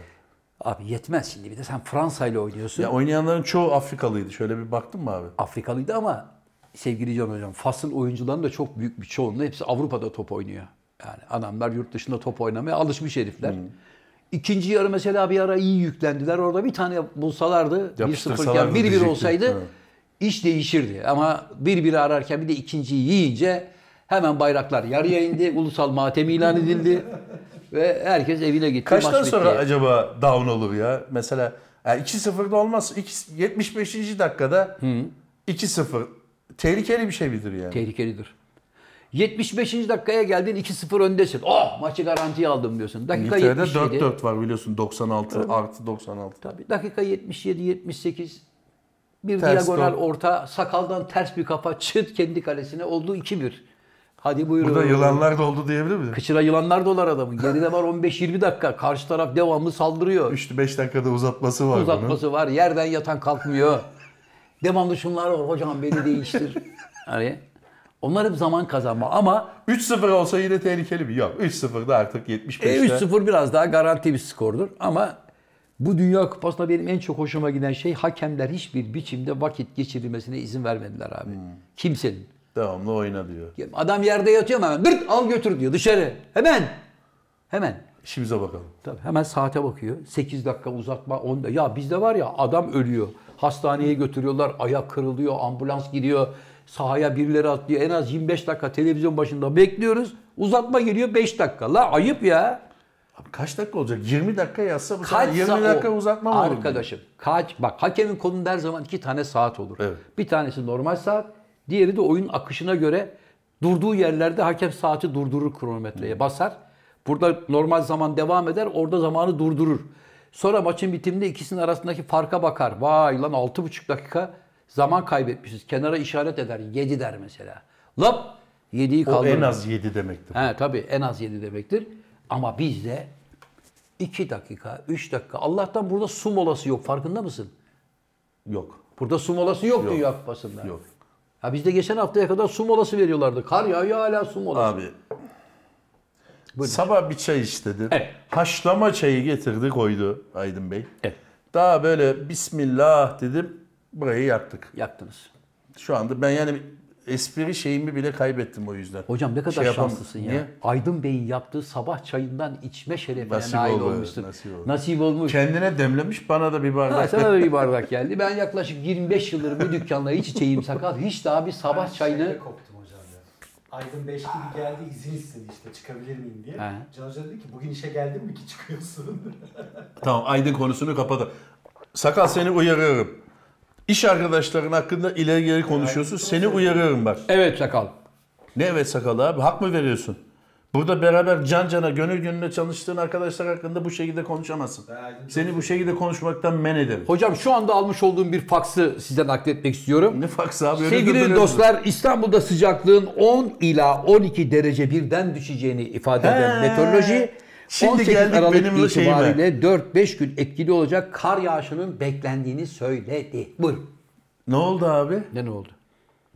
A: Abi yetmez şimdi bir de sen Fransa ile oynuyorsun.
B: Ya oynayanların çoğu Afrikalıydı. Şöyle bir baktın mı abi?
A: Afrikalıydı ama sevgili Can Hocam Fas'ın oyuncularının da çok büyük bir çoğunluğu hepsi Avrupa'da top oynuyor. Yani adamlar yurt dışında top oynamaya alışmış herifler.
B: Hmm.
A: İkinci yarı mesela bir ara iyi yüklendiler. Orada bir tane bulsalardı 1-0
B: Yapıştırsalardı
A: iken 1-1
B: diyecektim.
A: olsaydı
B: Evet.
A: iş değişirdi. Ama 1-1 ararken bir de ikinciyi yiyince hemen bayraklar yarıya indi. Ulusal matem ilan edildi. Ve herkes evine gitti.
B: Kaçtan
A: maç
B: sonra
A: bitti.
B: acaba down olur ya? Mesela ya 2-0'da olmaz. İki- 75. dakikada 2-0 tehlikeli bir şey midir yani?
A: Tehlikelidir. 75. dakikaya geldin 2-0 öndesin. Oh maçı garantiye aldım diyorsun. Dakika
B: İngiltere'de
A: 77.
B: 4-4 var biliyorsun 96 artı 96.
A: Tabii dakika 77 78 bir
B: Ters
A: diagonal
B: top.
A: orta sakaldan ters bir kafa çıt kendi kalesine oldu 2-1. Hadi buyurun.
B: Burada yılanlar doldu diyebilir miyim?
A: Kıçına yılanlar dolar adamın. Geride var 15-20 dakika. Karşı taraf devamlı saldırıyor.
B: 3-5 dakikada uzatması var bunun.
A: Uzatması var. Yerden yatan kalkmıyor. devamlı şunlar var. Hocam beni değiştir. hani onlar hep zaman kazanma ama
B: 3-0 olsa yine tehlikeli mi? Yok 3-0'da artık 75'te.
A: E, 3-0 biraz daha garanti bir skordur ama bu Dünya Kupası'nda benim en çok hoşuma giden şey hakemler hiçbir biçimde vakit geçirilmesine izin vermediler abi. Kimsenin.
B: Devamlı oyna diyor.
A: Adam yerde yatıyor ama hemen dırt al götür diyor dışarı. Hemen. Hemen.
B: İşimize bakalım.
A: Tabii hemen saate bakıyor. 8 dakika uzatma 10 da- Ya bizde var ya adam ölüyor. Hastaneye götürüyorlar. Ayak kırılıyor. Ambulans gidiyor. Sahaya birileri atlıyor. En az 25 dakika televizyon başında bekliyoruz. Uzatma geliyor 5 dakika. La ayıp ya.
B: Abi kaç dakika olacak? 20 dakika yazsa bu sefer
A: Kaçsa
B: 20 dakika
A: o.
B: uzatma mı olur?
A: Arkadaşım kaç bak hakemin kolunda her zaman iki tane saat olur.
B: Evet.
A: Bir tanesi normal saat, diğeri de oyun akışına göre durduğu yerlerde hakem saati durdurur kronometreye basar. Burada normal zaman devam eder, orada zamanı durdurur. Sonra maçın bitiminde ikisinin arasındaki farka bakar. Vay lan 6,5 dakika zaman kaybetmişiz. Kenara işaret eder. 7 der mesela. Lap 7'yi
B: O
A: kaldırır.
B: en az 7 demektir.
A: He tabii en az 7 demektir. Ama bizde 2 dakika, 3 dakika. Allah'tan burada su molası yok. Farkında mısın?
B: Yok.
A: Burada su molası yok, Dünya Kupası'nda.
B: Yok.
A: Ya bizde geçen haftaya kadar su molası veriyorlardı. Kar yağıyor hala su molası.
B: Abi. Sabah bir çay istedin.
A: Evet.
B: Haşlama çayı getirdi koydu Aydın Bey.
A: Evet.
B: Daha böyle Bismillah dedim burayı yaktık.
A: Yaktınız.
B: Şu anda ben yani espri şeyimi bile kaybettim o yüzden.
A: Hocam ne kadar
B: Şey yapam-
A: şanslısın ya.
B: Niye?
A: Aydın Bey'in yaptığı sabah çayından içme şerefine
B: Nasip
A: nail
B: oldu,
A: olmuştur.
B: nasip oldu.
A: olmuş.
B: Kendine demlemiş bana da bir
A: Ha,
B: bardak.
A: sana da bir bardak geldi. Ben yaklaşık 25 yıldır bu dükkanla hiç içeyim sakat. Hiç daha bir sabah çayını...
C: Şeyde koptum hocam ya. Aydın 5 gibi geldi izin istedi işte çıkabilir miyim diye.
A: He.
C: Can Hoca dedi ki bugün işe geldin mi ki çıkıyorsun?
B: Tamam Aydın konusunu kapatalım. Sakal seni uyarıyorum. İş arkadaşların hakkında ileri geri konuşuyorsun. Seni uyarıyorum bak.
A: Evet sakal.
B: Ne evet sakal abi hak mı veriyorsun? Burada beraber can cana gönül gönüle çalıştığın arkadaşlar hakkında bu şekilde konuşamazsın.
C: Ben Aydın
B: Seni bu şekilde konuşmaktan men ederim.
A: Hocam şu anda almış olduğum bir faksı size nakletmek istiyorum.
B: Ne faks abi öyle
A: Sevgili
B: duruyorsun.
A: dostlar İstanbul'da sıcaklığın 10 ila 12 derece birden düşeceğini ifade eden
B: He.
A: meteoroloji
B: Şimdi
A: 18
B: geldik
A: Aralık
B: benim şeyime.
A: itibariyle 4-5 gün etkili olacak kar yağışının beklendiğini söyledi. Buyurun.
B: Ne oldu abi?
A: Ne ne oldu?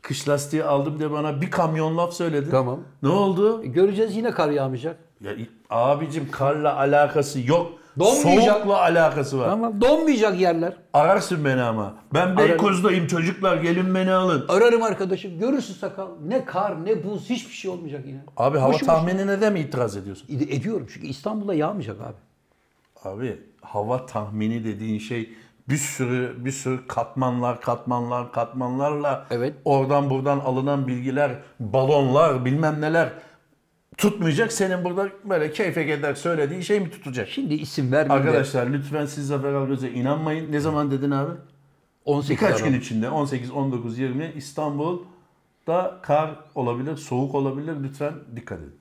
B: Kış lastiği aldım diye bana bir kamyon laf söyledin.
A: Tamam.
B: Ne oldu?
A: E, Göreceğiz yine kar yağmayacak.
B: Ya, abicim karla alakası yok.
A: Donmayacak.
B: Soğukla alakası var.
A: Tamam. Donmayacak yerler.
B: Ararsın beni ama. Ben Beykoz'dayım çocuklar gelin beni alın.
A: Ararım arkadaşım. Görürsün sakal. Ne kar ne buz hiçbir şey olmayacak yine.
B: Abi hava
A: Boşu boşuna-
B: tahminine de mi itiraz ediyorsun?
A: Ed- Ediyorum çünkü İstanbul'da yağmayacak abi.
B: Abi hava tahmini dediğin şey bir sürü bir sürü katmanlar katmanlar katmanlarla
A: Evet.
B: oradan buradan alınan bilgiler balonlar bilmem neler tutmayacak. Senin burada böyle keyfe gider söylediğin şey mi tutacak?
A: Şimdi isim vermeyeyim de
B: Arkadaşlar lütfen siz Zafer Algöz'e inanmayın. Ne zaman dedin abi?
A: 18
B: Birkaç
A: Aralık.
B: gün içinde 18, 19, 20 İstanbul'da kar olabilir, soğuk olabilir. Lütfen dikkat edin.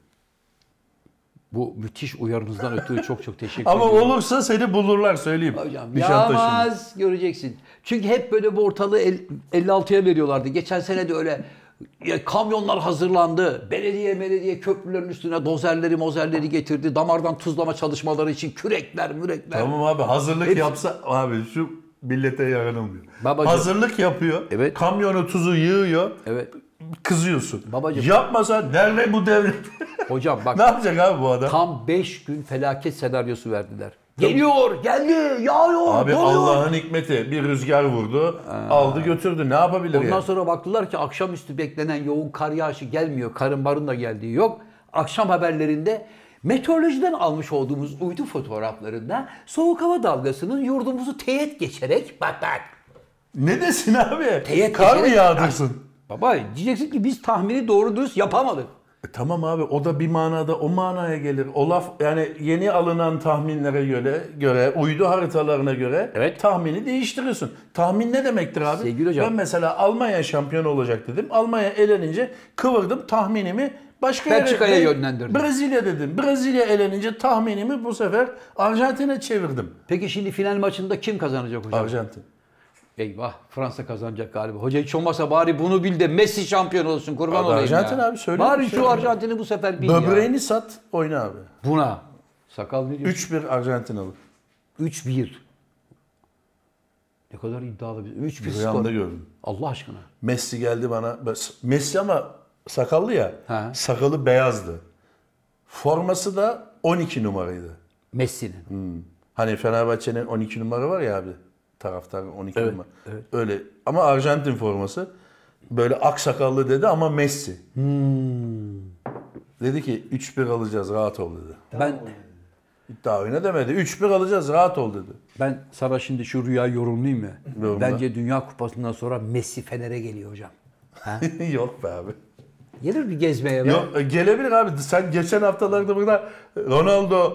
A: Bu müthiş uyarınızdan ötürü çok çok teşekkür
B: Ama
A: ediyorum.
B: olursa seni bulurlar söyleyeyim.
A: Hocam
B: Nişantaşı'nda.
A: yağmaz göreceksin. Çünkü hep böyle bu ortalığı el- 56'ya veriyorlardı. Geçen sene de öyle ya, kamyonlar hazırlandı. Belediye belediye köprülerin üstüne dozerleri mozerleri getirdi. Damardan tuzlama çalışmaları için kürekler mürekler.
B: Tamam abi hazırlık
A: Hepsi-
B: yapsa abi şu millete yaranılmıyor.
A: Babacım.
B: Hazırlık yapıyor.
A: Evet.
B: Kamyonu tuzu yığıyor.
A: Evet.
B: Kızıyorsun.
A: Babacım.
B: Yapmasa nerede bu devlet?
A: Hocam bak
B: ne yapacak abi bu adam?
A: tam 5 gün felaket senaryosu verdiler. Geliyor, geldi, yağıyor,
B: Abi
A: doluyor.
B: Allah'ın hikmeti bir rüzgar vurdu. Aldı götürdü. Ne yapabilir
A: Ondan
B: yani?
A: sonra baktılar ki akşamüstü beklenen yoğun kar yağışı gelmiyor. Karın barın da geldiği yok. Akşam haberlerinde meteorolojiden almış olduğumuz uydu fotoğraflarında soğuk hava dalgasının yurdumuzu teğet geçerek bak bak.
B: Ne desin abi?
A: Teyit
B: Kar mı
A: geçerek-
B: yağdırsın?
A: Baba diyeceksin ki biz tahmini doğru dürüst yapamadık.
B: E tamam abi o da bir manada o manaya gelir. O laf yani yeni alınan tahminlere göre, göre uydu haritalarına göre
A: Evet.
B: tahmini değiştiriyorsun. Tahmin ne demektir abi?
A: Sevgili hocam.
B: Ben mesela Almanya şampiyon olacak dedim. Almanya elenince kıvırdım tahminimi başka
A: Belçika'ya
B: yere.
A: yönlendirdim.
B: Brezilya dedim. Brezilya elenince tahminimi bu sefer Arjantin'e çevirdim.
A: Peki şimdi final maçında kim kazanacak hocam?
B: Arjantin.
A: Eyvah Fransa kazanacak galiba. Hoca hiç olmazsa bari bunu bil de Messi şampiyon olsun kurban
B: Abi
A: olayım
B: Arjantin
A: ya.
B: abi, söyle bir
A: Bari
B: şey
A: şu
B: ya.
A: Arjantin'i bu sefer bil ya.
B: Böbreğini sat oyna abi.
A: Buna. Sakal ne diyor?
B: 3-1 Arjantin alır.
A: 3-1. Ne kadar iddialı bir 3-1 skor.
B: Rüyamda gördüm.
A: Allah aşkına.
B: Messi geldi bana. Messi ama sakallı ya.
A: Ha.
B: Sakalı beyazdı. Forması da 12 numaraydı.
A: Messi'nin.
B: Hani Fenerbahçe'nin 12 numara var ya abi. Taraftarın 12 numara. Öyle ama Arjantin forması. Böyle ak sakallı dedi ama Messi. Dedi ki 3-1 alacağız rahat ol dedi.
A: Ben
B: İddia oyna demedi. 3-1 alacağız rahat ol dedi.
A: ben sana şimdi şu rüyayı yorumlayayım mı?
B: Yorumla.
A: Bence Dünya Kupası'ndan sonra Messi Fener'e geliyor hocam.
B: Yok be abi.
A: Gelir bir gezmeye be.
B: Yok, e, gelebilir abi. Sen geçen haftalarda burada e, Ronaldo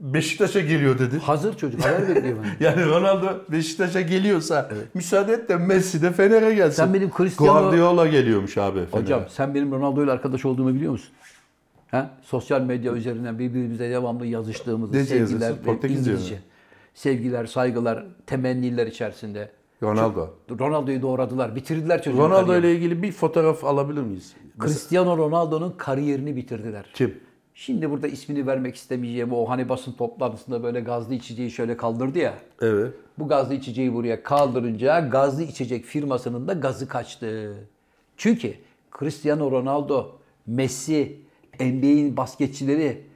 B: Beşiktaş'a geliyor dedi.
A: Hazır çocuk haber bekliyor beni.
B: Yani Ronaldo Beşiktaş'a geliyorsa müsaade et de Messi de Fener'e gelsin.
A: Sen benim Cristiano-
B: Guardiola geliyormuş abi Fener'e.
A: Hocam sen benim Ronaldo ile arkadaş olduğumu biliyor musun? Ha? Sosyal medya üzerinden birbirimize devamlı yazıştığımızı
B: Ne
A: sevgiler
B: yazıyorsun?
A: ve
B: Portekizce mi?
A: İngilizce. Sevgiler, saygılar, temenniler içerisinde.
B: Ronaldo.
A: Ronaldo'yu doğradılar, bitirdiler çocuğu.
B: Ronaldo ile ilgili bir fotoğraf alabilir miyiz?
A: Cristiano Ronaldo'nun kariyerini bitirdiler.
B: Kim?
A: Şimdi burada ismini vermek istemeyeceğim o hani basın toplantısında böyle gazlı içeceği şöyle kaldırdı ya.
B: Evet.
A: Bu gazlı içeceği buraya kaldırınca gazlı içecek firmasının da gazı kaçtı. Çünkü Cristiano Ronaldo, Messi, NBA'in basketçileri,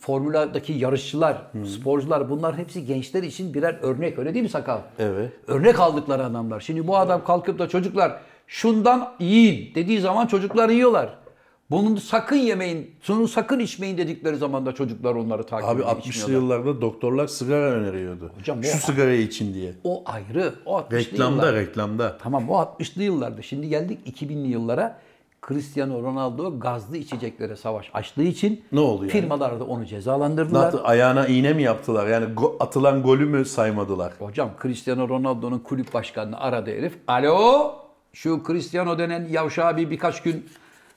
A: formüladaki yarışçılar, sporcular bunlar hepsi gençler için birer örnek öyle değil mi Sakal?
B: Evet.
A: Örnek aldıkları adamlar. Şimdi bu adam kalkıp da çocuklar şundan yiyin dediği zaman çocuklar yiyorlar. Bunun sakın yemeyin, şunu sakın içmeyin dedikleri zaman da çocuklar onları takip
B: Abi
A: ediyor.
B: 60'lı
A: içmiyorlar.
B: yıllarda doktorlar sigara öneriyordu.
A: Hocam o-
B: Şu sigarayı için diye.
A: O ayrı. O 60'lı
B: Reklamda
A: yıllar.
B: reklamda.
A: Tamam o 60'lı yıllarda. Şimdi geldik 2000'li yıllara. Cristiano Ronaldo gazlı içeceklere savaş açtığı için
B: Ne oldu yani?
A: firmalar da onu
B: Ne
A: cezalandırdılar.
B: yaptı? Ayağına iğne mi yaptılar? Yani go- atılan golü mü saymadılar?
A: Hocam Cristiano Ronaldo'nun kulüp başkanını aradı herif. Alo şu Cristiano denen yavşağı bir birkaç gün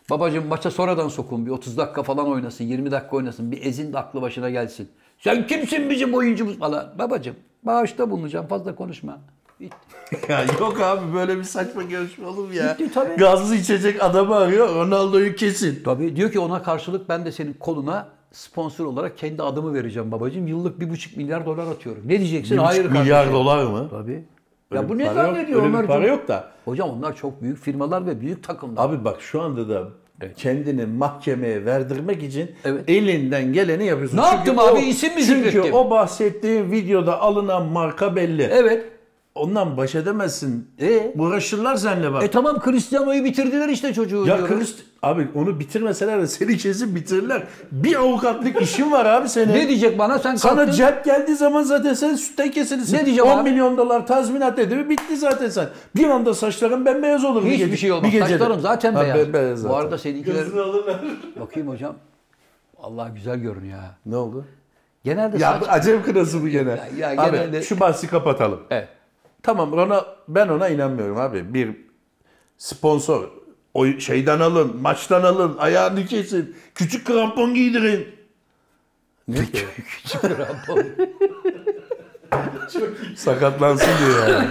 A: babacığım maça sonradan sokun bir 30 dakika falan oynasın 20 dakika oynasın bir ezin de aklı başına gelsin. Sen kimsin bizim oyuncumuz falan. Babacığım bağışta bulunacağım fazla konuşma. Bitti.
B: ya yok abi böyle bir saçma görüşme olur mu ya?
A: Bitti tabii.
B: Gazlı içecek adamı arıyor. Ronaldo'yu kesin.
A: Tabii diyor ki ona karşılık ben de senin koluna sponsor olarak kendi adımı vereceğim babacığım. Yıllık bir buçuk milyar dolar atıyorum. Ne diyeceksin?
B: Bir
A: Hayır
B: buçuk milyar
A: kardeşim.
B: dolar mı?
A: Tabii.
B: Öyle
A: ya bu
B: bir
A: ne
B: para yok,
A: zannediyor
B: öyle bir
A: Ömer?
B: para yok da.
A: Hocam onlar çok büyük firmalar ve büyük takımlar.
B: Abi bak şu anda da kendini mahkemeye verdirmek için
A: Evet.
B: elinden geleni yapıyorsun.
A: Ne yaptım abi? İsim mi
B: Çünkü
A: zikrettim?
B: o bahsettiğin videoda alınan marka belli.
A: Evet.
B: Ondan baş edemezsin.
A: E?
B: Uğraşırlar seninle bak.
A: E tamam Cristiano'yu bitirdiler işte çocuğu
B: ya
A: diyorum.
B: Christ- abi onu bitirmeseler de seni kesin bitirirler. Bir avukatlık işin var abi senin.
A: Ne diyecek bana sen
B: Sana
A: kalktın.
B: cep geldiği zaman zaten sen sütten kesilisin.
A: Ne diyeceğim
B: 10
A: abi?
B: milyon dolar tazminat ödemi bitti zaten sen. Bir anda saçların bembeyaz olur. bir
A: Hiçbir
B: gece-
A: şey olmaz.
B: bir gecede.
A: Saçlarım zaten
B: Ha,
A: beyaz. Bu
B: bembeyaz zaten.
A: arada seninkiler...
C: Gözünü alırlar.
A: Bakayım hocam. Allah güzel görünüyor ha.
B: Ne oldu?
A: Genelde
B: Ya
A: saç...
B: bu acem kırası bu gene.
A: ya
B: abi
A: genelde-
B: şu bahsi kapatalım.
A: Evet.
B: Tamam ona ben ona inanmıyorum abi. Bir sponsor o şeyden alın, maçtan alın, ayağını kesin, küçük krampon giydirin. Ne ki? Sakatlansın diyor yani.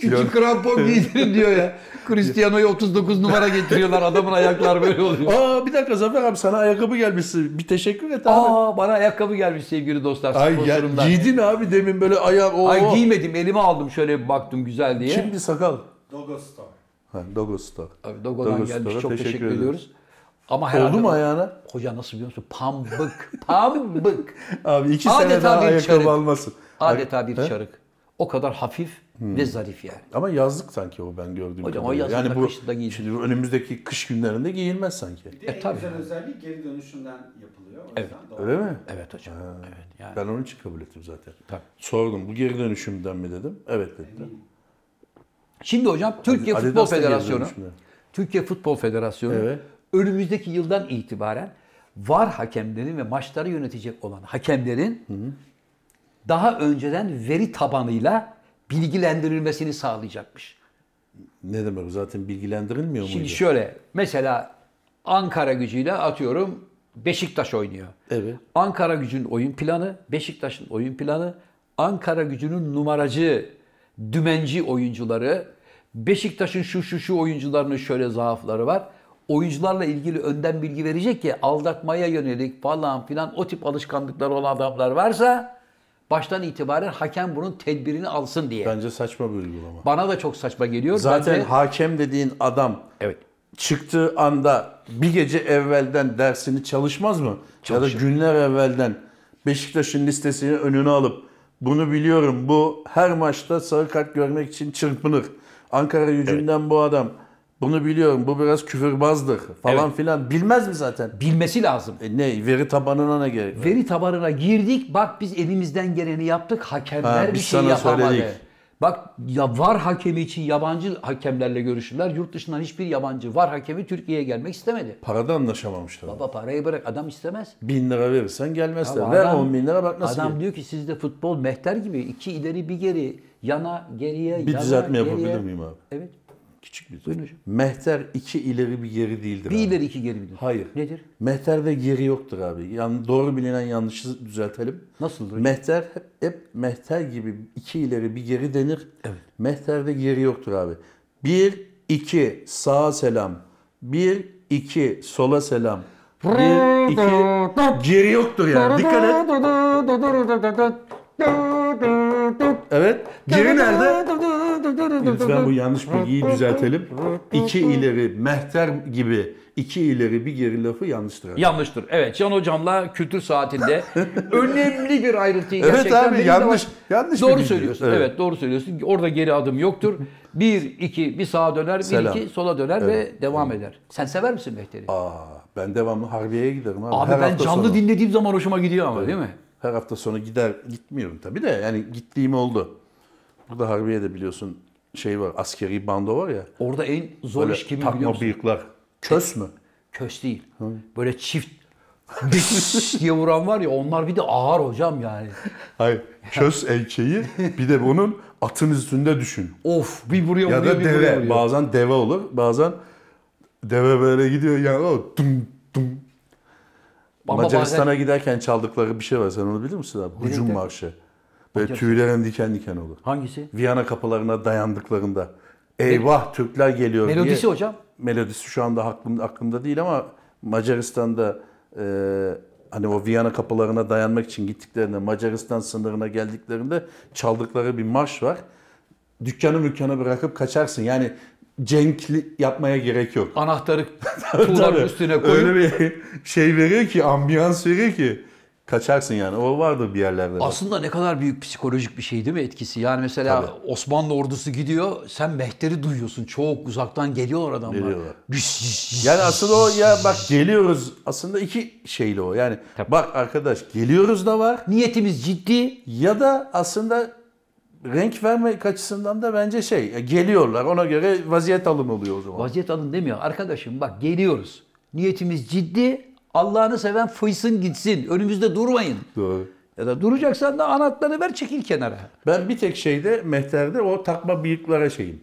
A: Küçük krampon giydirin diyor ya. Cristiano'yu 39 numara getiriyorlar. Adamın ayakları böyle oluyor.
B: Aa bir dakika Zafer abi sana ayakkabı gelmişsin. Bir teşekkür et abi.
A: Aa bana ayakkabı gelmiş sevgili dostlar.
B: Ay ya,
A: sponsorumdan.
B: giydin abi demin böyle ayağım. Oo.
A: Ay giymedim elime aldım şöyle bir baktım güzel diye.
B: Şimdi sakal.
C: Dogo Store.
B: Ha, Dogo Store.
A: Abi Dogo'dan
B: Dogo
A: gelmiş
B: Store'a
A: çok teşekkür,
B: teşekkür ederiz.
A: ediyoruz. Ama herhalde-
B: Oldu mu ayağına?
A: Hoca nasıl biliyor musun? Pambık. Pambık.
B: Abi iki
A: Adeta
B: sene daha
A: bir
B: ayakkabı
A: çarık.
B: almasın.
A: Adeta bir
B: He?
A: çarık. O kadar hafif ve zarif yani.
B: Ama yazlık sanki o ben gördüğüm
A: Hocam o
B: kadarıyla.
A: yazlıkta,
B: yani bu
A: kışta giyilir.
B: şimdi bu önümüzdeki kış günlerinde giyilmez sanki.
C: Bir de
A: E,
C: en
A: tabii.
C: güzel özellik geri dönüşünden yapılıyor. O yüzden doğru.
B: Öyle mi?
A: Evet hocam. Evet yani.
B: Ben onun için kabul ettim zaten.
A: Tabii.
B: Sordum bu geri dönüşümden mi dedim. Evet dedi.
A: Şimdi hocam Türkiye
B: Adidas
A: Futbol
B: da geri
A: Federasyonu
B: dönüşümde.
A: Türkiye Futbol Federasyonu
B: Evet.
A: önümüzdeki yıldan itibaren VAR hakemlerin ve maçları yönetecek olan hakemlerin daha önceden veri tabanıyla bilgilendirilmesini sağlayacakmış.
B: Ne demek o zaten bilgilendirilmiyor
A: Şimdi
B: muydu?
A: şöyle mesela Ankara gücüyle atıyorum Beşiktaş oynuyor.
B: Evet.
A: Ankara gücünün oyun planı, Beşiktaş'ın oyun planı, Ankara gücünün numaracı, dümenci oyuncuları, Beşiktaş'ın şu şu şu oyuncularının şöyle zaafları var. Oyuncularla ilgili önden bilgi verecek ki aldatmaya yönelik falan filan o tip alışkanlıkları olan adamlar varsa baştan itibaren hakem bunun tedbirini alsın diye.
B: Bence saçma bir uygulama.
A: Bana da çok saçma geliyor.
B: Zaten
A: Ben de-
B: hakem dediğin adam
A: evet.
B: çıktığı anda bir gece evvelden dersini çalışmaz mı? Ya da günler evvelden Beşiktaş'ın listesini önüne alıp bunu biliyorum bu her maçta sarı kart görmek için çırpınır. Ankara gücünden bu adam bunu biliyorum bu biraz küfürbazdır falan
A: Evet.
B: filan bilmez mi zaten?
A: Bilmesi lazım.
B: E ne veri tabanına ne gerek? var?
A: Veri tabanına girdik. Bak biz elimizden geleni yaptık. Hakemler
B: Ha,
A: bir
B: biz
A: şey
B: sana
A: yapamadı.
B: söyledik.
A: Bak ya var hakemi için yabancı hakemlerle görüştüler. Yurt dışından hiçbir yabancı var hakemi Türkiye'ye gelmek istemedi.
B: Parada anlaşamamışlar.
A: Baba parayı bırak adam istemez.
B: Bin lira verirsen gelmezler.
A: Ama
B: Ver
A: adam-
B: 10 bin lira bak nasıl
A: Adam
B: gelir.
A: diyor ki sizde futbol mehter gibi iki ileri bir geri yana geriye
B: Bir
A: yana,
B: düzeltme
A: geriye.
B: yapabilir miyim abi?
A: Evet.
B: Küçük bir
A: Buyurun hocam.
B: Mehter iki ileri bir geri değildir
A: Bir
B: abi.
A: ileri iki geri bilir.
B: Hayır.
A: Nedir?
B: Mehterde geri yoktur abi. Yani doğru bilinen yanlışı düzeltelim.
A: Nasıldır hocam?
B: Mehter hep, hep mehter gibi iki ileri bir geri denir. Evet. Mehterde geri yoktur abi. Bir, iki, sağa selam. Bir, iki, sola selam. Bir, iki, geri yoktur yani. Dikkat et. Evet. Geri nerede? Lütfen bu yanlış bilgiyi düzeltelim. İki ileri mehter gibi iki ileri bir geri lafı yanlıştır. abi.
A: Yanlıştır. Evet Can Hocam'la kültür saatinde önemli bir ayrıntıyı
B: Evet
A: gerçekten
B: abi,
A: benim de
B: yanlış-
A: var.
B: yanlış bir
A: Doğru
B: bilgi.
A: söylüyorsun. Evet.
B: Evet.
A: doğru söylüyorsun. Orada geri adım yoktur. Bir iki bir sağa döner, bir
B: Selam.
A: iki sola döner ve devam eder. Sen sever misin Mehter'i? Abi,
B: Aa, ben devamlı harbiye giderim abi. Her
A: ben
B: hafta
A: canlı
B: sonu.
A: dinlediğim zaman hoşuma gidiyor ama değil mi?
B: Her hafta sonu gider gitmiyorum tabii de yani gittiğim oldu. Burada Harbiye'de biliyorsun şey var askeri bando var ya.
A: Orada en zor
B: Böyle
A: iş kimi biliyor
B: takma
A: musun?
B: bıyıklar. Kös mü?
A: Köş değil. Böyle çift diş diye vuran var ya onlar bir de ağır hocam yani.
B: Hayır. Kös elçeği bir de bunun atın üstünde düşün.
A: Of bir vuruyor
B: Ya
A: vuruyor
B: da
A: bir vuruyor.
B: deve.
A: vuruyor.
B: Bazen deve olur. Bazen deve böyle gidiyor ya o dum dum.
A: Ama
B: Macaristan'a
A: bazen-
B: giderken çaldıkları bir şey var. Sen onu bilir misin abi? Hücum
A: Birlikte.
B: marşı. Böyle tüylerin diken diken olur.
A: Hangisi?
B: Viyana kapılarına dayandıklarında eyvah Türkler geliyor
A: Melodisi
B: diye.
A: hocam.
B: Melodisi şu anda aklımda, aklımda değil ama Macaristan'da e, hani o Viyana kapılarına dayanmak için gittiklerinde Macaristan sınırına geldiklerinde çaldıkları bir marş var. Dükkanı mükkanı bırakıp kaçarsın. Yani cenkli yapmaya gerek yok.
A: Anahtarı tuğlanın
B: Tabii.
A: üstüne koyup
B: Öyle bir şey veriyor ki ambiyans veriyor ki kaçarsın yani. O vardı bir yerlerde.
A: Aslında ne kadar büyük psikolojik bir şey değil mi etkisi? Yani mesela Osmanlı ordusu gidiyor, sen mehteri duyuyorsun. Çok uzaktan geliyorlar adamlar.
B: Geliyorlar.
A: Güş, güş, güş.
B: Yani aslında o ya bak geliyoruz aslında iki şeyle o. Yani bak arkadaş geliyoruz da var
A: Niyetimiz ciddi.
B: ya da aslında renk vermek açısından da bence şey ya geliyorlar ona göre vaziyet alım oluyor o zaman.
A: Vaziyet alın demiyor. Arkadaşım bak geliyoruz. Niyetimiz ciddi. Allah'ını seven fıysın gitsin. Önümüzde durmayın.
B: Doğru.
A: Ya da duracaksan da anahtarı ver çekil kenara.
B: Ben bir tek şeyde mehterde o takma bıyıklara şeyim.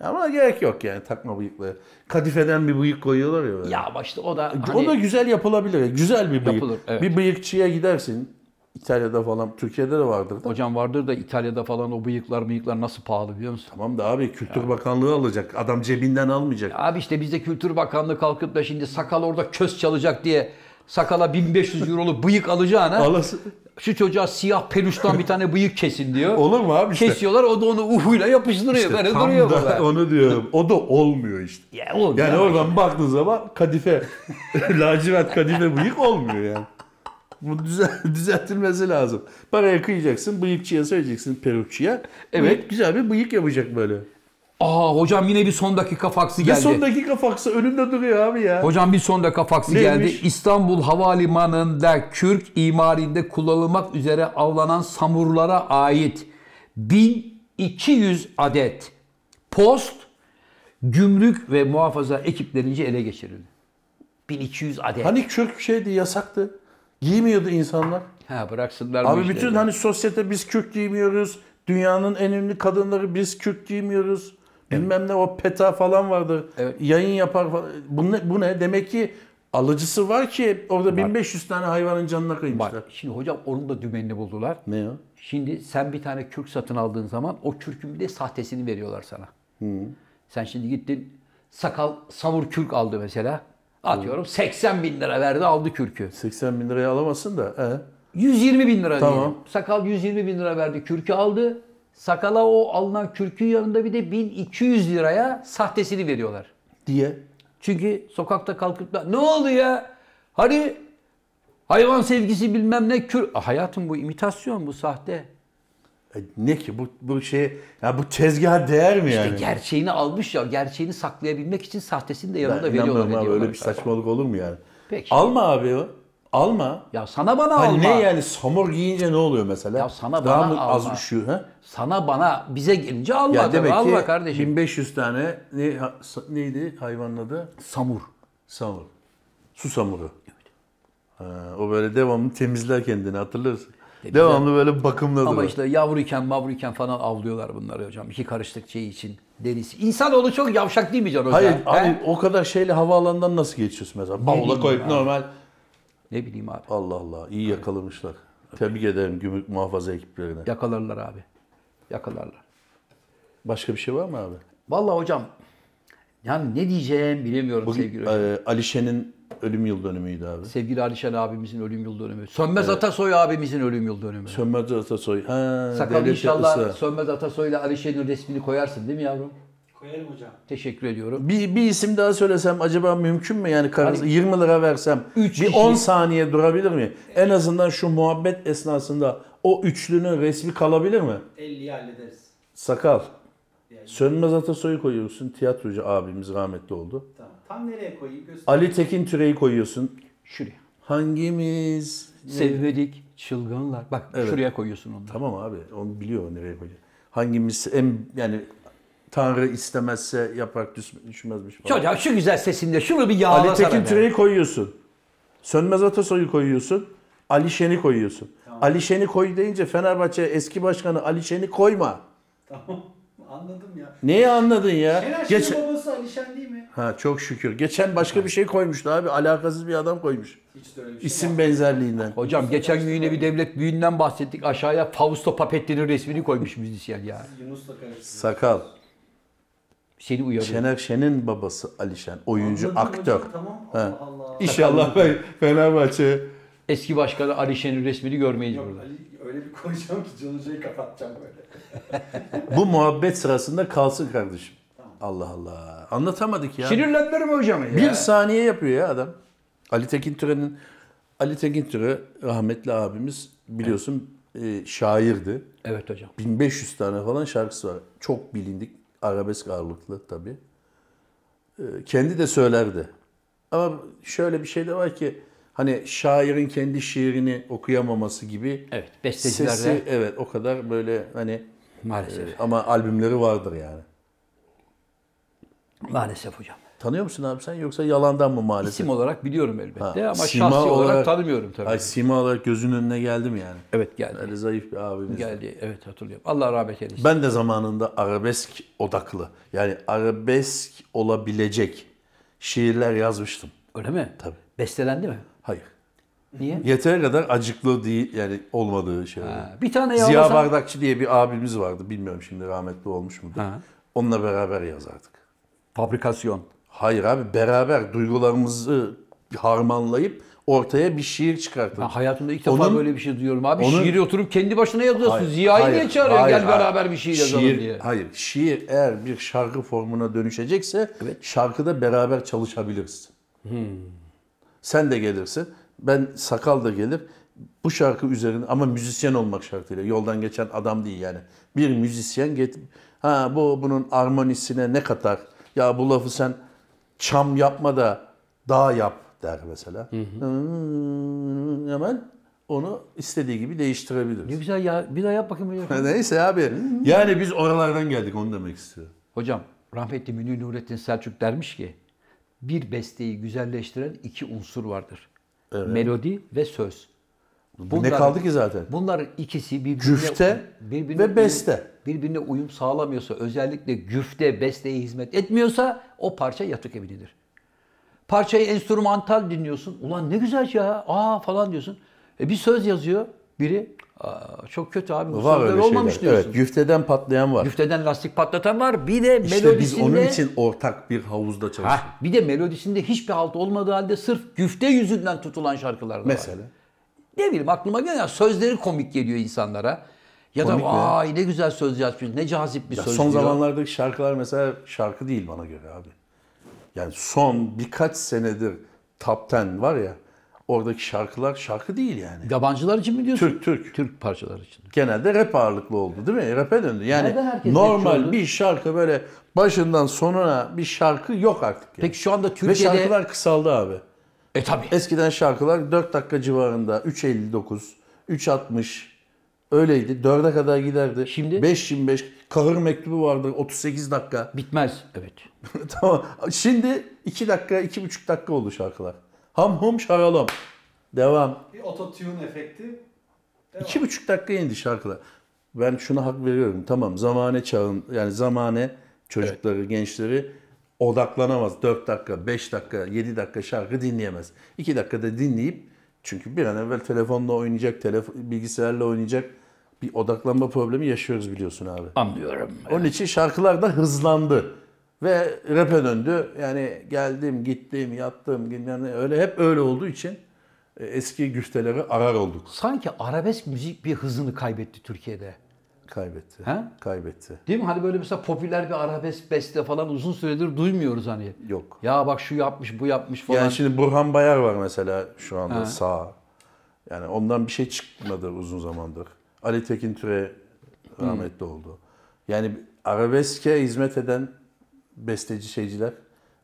B: Ama gerek yok yani takma bıyıklara. Kadifeden bir bıyık koyuyorlar ya. böyle.
A: Ya başta o da hani,
B: O da güzel yapılabilir. Güzel bir bıyık.
A: Yapılır, evet.
B: Bir bıyıkçıya gidersin. İtalya'da falan, Türkiye'de de vardır. da.
A: hocam vardır da İtalya'da falan o bıyıklar bıyıklar nasıl pahalı biliyor musun?
B: Tamam da abi Kültür Bakanlığı alacak. Adam cebinden almayacak.
A: Abi işte bizde Kültür Bakanlığı kalkıp da şimdi sakal orada köz çalacak diye sakala 1500 euroluk bıyık alacağına
B: Alası.
A: şu çocuğa siyah peluştan bir tane bıyık kesin diyor.
B: Olur mu abi işte?
A: Kesiyorlar o da onu uhuyla yapıştırıyor.
B: İşte
A: böyle
B: tam
A: duruyor
B: da
A: böyle.
B: onu diyorum. O da olmuyor işte.
A: Ya oğlum
B: Yani
A: ya.
B: oradan baktığın zaman kadife, lacivert kadife bıyık olmuyor yani. Bu düzel- düzeltilmesi lazım. Paraya kıyacaksın, bıyıkçıya söyleyeceksin, perukçuya.
A: Evet.
B: Bıyık, güzel bir bıyık yapacak böyle.
A: Aa hocam yine bir son dakika faksı
B: Bir
A: geldi.
B: son dakika faksı önünde duruyor abi ya.
A: Hocam bir son dakika faksı
B: Neymiş?
A: geldi. İstanbul Havalimanı'nda kürk imarinde kullanılmak üzere avlanan samurlara ait 1200 adet post, gümrük ve muhafaza ekiplerince ele geçirildi. 1200 adet.
B: Hani kürk şeydi yasaktı. Giymiyordu insanlar.
A: Ha bıraksınlar bu
B: Abi
A: işleri.
B: bütün hani sosyete biz kürk giymiyoruz. Dünyanın en ünlü kadınları biz kürk giymiyoruz. Bilmem ne o PETA falan vardır.
A: Evet.
B: Yayın yapar falan. Bu ne, bu ne? Demek ki alıcısı var ki orada 1500 tane hayvanın canına
A: Bak,
B: kıymışlar.
A: şimdi hocam onun da dümenini buldular.
B: Ne ya?
A: Şimdi sen bir tane kürk satın aldığın zaman o kürkün bir de sahtesini veriyorlar sana. Sen şimdi gittin sakal savur kürk aldı mesela. Atıyorum 80 bin lira verdi aldı kürkü.
B: 80 bin liraya alamazsın da. He.
A: 120 bin lira
B: Tamam.
A: diyelim. Sakal 120 bin lira verdi kürkü aldı. Sakala o alınan kürkün yanında bir de 1200 liraya sahtesini veriyorlar.
B: Diye.
A: Çünkü sokakta kalkıp da ne oldu ya? Hani hayvan sevgisi bilmem ne kür... Ah, Hayatım bu imitasyon bu sahte.
B: E, Ne ki bu, bu şey ya bu tezgaha değer mi
A: İşte
B: yani?
A: E, gerçeğini almış ya. Gerçeğini saklayabilmek için sahtesini de
B: Ben
A: yanında veriyorlar.
B: inanmıyorum abi
A: ediyorlar.
B: öyle bir saçmalık olur mu yani?
A: Peki.
B: Alma abi o. Alma.
A: Ya sana bana
B: Hani
A: alma.
B: ne yani samur giyince ne oluyor mesela?
A: Ya sana
B: Daha
A: bana
B: mı az
A: alma.
B: üşüyor? Ha?
A: Sana bana bize gelince alma.
B: Ya
A: tabii,
B: demek ki
A: alma kardeşim.
B: 1500 tane ne, ha- sa- neydi hayvanın adı?
A: Samur.
B: Samur. Su samuru. Ha, o böyle devamlı temizler kendini hatırlarsın. Devamlı böyle bakımladı.
A: Ama
B: o.
A: işte yavruyken mavruyken falan avlıyorlar bunları hocam. İki karışlık şey için. Deniz. İnsanoğlu çok yavşak değil mi Can Hoca?
B: Hayır
A: He?
B: abi o kadar şeyle havaalanından nasıl geçiyorsun mesela? Bavula
A: bileyim
B: koyup
A: ya.
B: normal.
A: Ne bileyim abi.
B: Allah Allah iyi yakalamışlar. Tebrik ederim gümrük muhafaza ekiplerine.
A: Yakalarlar abi. Yakalarlar.
B: Başka bir şey var mı abi?
A: Şey Vallahi hocam yani ne diyeceğim bilemiyorum sevgili hocam.
B: e, Alişe'nin ölüm yıl dönümüydü abi.
A: Sevgili Alişan abimizin ölüm yıl dönümü. Sönmez Atasoy abimizin ölüm yıl dönümü.
B: Sönmez Atasoy. Ha,
A: Sakal
B: Ee, devlet
A: inşallah
B: yapısı.
A: Sönmez Atasoy ile Alişan'ın resmini koyarsın değil mi yavrum?
C: Koyarım hocam.
A: Teşekkür ediyorum.
B: Bir, bir isim daha söylesem acaba mümkün mü? Yani karınız- 20 lira versem
A: Hani Üç
B: bir
A: kişi-
B: 10 saniye durabilir mi? En azından şu muhabbet esnasında o üçlünün resmi kalabilir mi?
C: 50'yi hallederiz.
B: Sakal.
C: Yani,
B: Sönmez Atasoy'u koyuyorsun. Tiyatrocu abimiz rahmetli oldu.
C: tamam. Tam nereye koyayım göster.
B: Ali Tekin Türe'yi koyuyorsun.
A: Şuraya.
B: Hangimiz?
A: Sevmedik çılgınlar. Bak şuraya koyuyorsun onu.
B: Tamam abi onu biliyor o nereye koyacak. Hangimiz en yani Tanrı istemezse yaprak düş- düşmezmiş falan.
A: Çocuğa şu güzel sesinle şunu bir
B: Ali
A: yağlasana.
B: Tekin
A: be.
B: Türe'yi koyuyorsun. Sönmez Atasoy'u koyuyorsun. Ali Şen'i koyuyorsun. Ali Şen'i koy deyince Fenerbahçe eski başkanı Ali Şen'i koyma.
C: Tamam. Anladım ya.
B: Neyi anladın ya?
C: Şener Şen'in
B: Geç...
C: babası Alişan değil mi?
B: Ha çok şükür. Geçen başka bir şey koymuştu abi. Alakasız bir adam koymuş.
C: Hiç de öyle bir şey
B: İsim benzerliğinden.
A: Hocam geçen gün yine bir devlet büyüğünden bahsettik. Aşağıya Fausto Papetti'nin resmini koymuş müzisyen ya.
C: yapmaz. şey. Yunus'la karıştırdım.
B: Sakal.
A: Seni uyarıyorum.
B: Şener Şen'in babası Ali Şen. Oyuncu,
C: Anladım
B: aktör.
C: hocam, Tamam.
B: Ha.
C: Allah Allah.
B: İnşallah Fenerbahçe
A: Eski başkanı Ali Şen'in resmini görmeyiz
C: Yok
A: burada.
C: Ali öyle bir konuşacağım ki Can Hoca'yı kapatacağım böyle.
B: bu muhabbet sırasında kalsın kardeşim. Allah Allah. Anlatamadık ya.
A: Sinirlendirim hocam ya.
B: Bir saniye yapıyor ya adam. Ali Tekin Türen'in Ali Tekin Türe rahmetli abimiz biliyorsun e, şairdi.
A: Evet hocam.
B: 1500 tane falan şarkısı var. Çok bilindik. Arabesk ağırlıklı tabii. E, kendi de söylerdi. Ama şöyle bir şey de var ki hani şairin kendi şiirini okuyamaması gibi
A: Evet. Bestecilerde
B: sesi evet o kadar böyle hani e,
A: maalesef.
B: ama albümleri vardır yani.
A: Maalesef hocam.
B: Tanıyor musun abi sen yoksa yalandan mı maalesef?
A: İsim olarak biliyorum elbette
B: Ha,
A: ama
B: sima
A: şahsi olarak,
B: olarak-
A: tanımıyorum tabii.
B: Ay sima olarak gözünün önüne geldim yani.
A: evet geldi.
B: Öyle zayıf bir abimiz.
A: Geldi. Evet hatırlıyorum. Allah rahmet eylesin.
B: Ben de zamanında arabesk odaklı yani arabesk olabilecek şiirler yazmıştım.
A: Öyle mi?
B: Tabii.
A: Bestelendi mi?
B: Hayır.
A: Niye?
B: Yeteri kadar acıklı değil yani olmadığı şeyler.
A: Ha, bir tane
B: Ziya
A: yağlasan.
B: Bardakçı diye bir abimiz vardı. Bilmiyorum şimdi rahmetli olmuş mudur.
A: Ha.
B: Onunla beraber yazardık.
A: Fabrikasyon.
B: Hayır abi beraber duygularımızı harmanlayıp ortaya bir şiir çıkartırdık.
A: Ben hayatımda ilk defa
B: Onun-
A: böyle bir şey duyuyorum abi.
B: onun-
A: şiiri oturup kendi başına yazıyorsun.
B: Hayır,
A: Ziya'yı
B: hayır,
A: niye çağırıyorsun?
B: hayır,
A: Gel
B: hayır.
A: beraber bir şiir yazalım
B: Şiir-
A: diye.
B: Hayır, şiir eğer bir şarkı formuna dönüşecekse şarkıda beraber çalışabiliriz.
A: Hmm.
B: Sen de gelirsin, ben sakal da gelir. Bu şarkı üzerine ama müzisyen olmak şartıyla yoldan geçen adam değil yani. Bir müzisyen get ha bu bunun armonisine ne katar? Ya bu lafı sen çam yapma da daha yap der mesela. Hmm, hemen onu istediği gibi değiştirebiliriz.
A: Ne güzel ya. Bir daha yap bakayım. böyle.
B: Neyse abi. Yani biz oralardan geldik onu demek istiyorum.
A: Hocam rahmetli Münir Nurettin Selçuk dermiş ki bir besteyi güzelleştiren iki unsur vardır. Melodi ve söz.
B: ne
A: Bunlar-
B: kaldı ki zaten?
A: Bunların ikisi birbirine
B: Güfte ve
A: uyum-
B: beste.
A: birbirine uyum sağlamıyorsa özellikle güfte besteye hizmet etmiyorsa o parça yatık evinidir. Parçayı enstrümantal dinliyorsun. Ulan ne güzel ya. Aa falan diyorsun. E bir söz yazıyor biri. Aa, çok kötü abi. Bu
B: Var
A: söz
B: öyle
A: böyle
B: şeyler.
A: olmamış diyorsun.
B: Evet, güfteden patlayan var.
A: Güfteden lastik patlatan var. Bir de
B: işte biz
A: melodisinde
B: onun için ortak bir havuzda çalıştık.
A: Hah, bir de melodisinde hiçbir halt olmadığı halde sırf güfte yüzünden tutulan şarkılar da var.
B: Mesela.
A: Ne bileyim aklıma gelen sözleri komik geliyor insanlara. Ya
B: Komik mi?
A: da vay ne güzel söz yazmış. Ne cazip bir
B: Ya
A: söz
B: son
A: diyor.
B: zamanlardaki şarkılar mesela şarkı değil bana göre abi. Yani son birkaç senedir Top Ten var ya oradaki şarkılar şarkı değil yani.
A: Yabancılar için mi diyorsun?
B: Türk Türk.
A: Türk parçaları için.
B: Genelde rap ağırlıklı oldu değil mi? Rap'e döndü.
A: Nereden
B: Yani
A: herkes rapçi
B: normal
A: oldu?
B: bir şarkı böyle başından sonuna bir şarkı yok artık. yani.
A: Peki şu anda
B: Ve
A: Türkiye'de...
B: şarkılar kısaldı abi.
A: E tabi.
B: Eskiden şarkılar 4 dakika civarında 3.59, 3.60 öyleydi. 4'e kadar giderdi.
A: Şimdi?
B: 5.25 kahır mektubu vardı 38 dakika.
A: Bitmez. Evet.
B: tamam. Şimdi 2 dakika 2.5 dakika oldu şarkılar. Ham hum şaralom. Devam.
C: Bir ototune efekti.
B: İki buçuk dakika indi şarkılar. Ben şuna hak veriyorum. Tamam zamane çağın yani zamane çocukları, gençleri odaklanamaz. 4 dakika, 5 dakika, 7 dakika şarkı dinleyemez. 2 dakikada dinleyip çünkü bir an evvel telefonla oynayacak, telefon, bilgisayarla oynayacak bir odaklanma problemi yaşıyoruz biliyorsun abi.
A: Anlıyorum.
B: Onun için şarkılar da hızlandı. Ve rap'e döndü. Yani geldim, gittim, yattım. Yani öyle hep öyle olduğu için e, eski güfteleri arar olduk.
A: Sanki arabesk müzik bir hızını kaybetti Türkiye'de.
B: Kaybetti.
A: He?
B: Kaybetti.
A: Değil mi? Hani böyle mesela popüler bir arabesk beste falan uzun süredir duymuyoruz hani.
B: Yok.
A: Ya bak şu yapmış, bu yapmış falan.
B: Yani şimdi Burhan Bayar var mesela şu anda
A: Ha.
B: sağ. Yani ondan bir şey çıkmadı uzun zamandır. Ali Tekin Türe rahmetli oldu. Yani arabeske hizmet eden besteci şeyciler,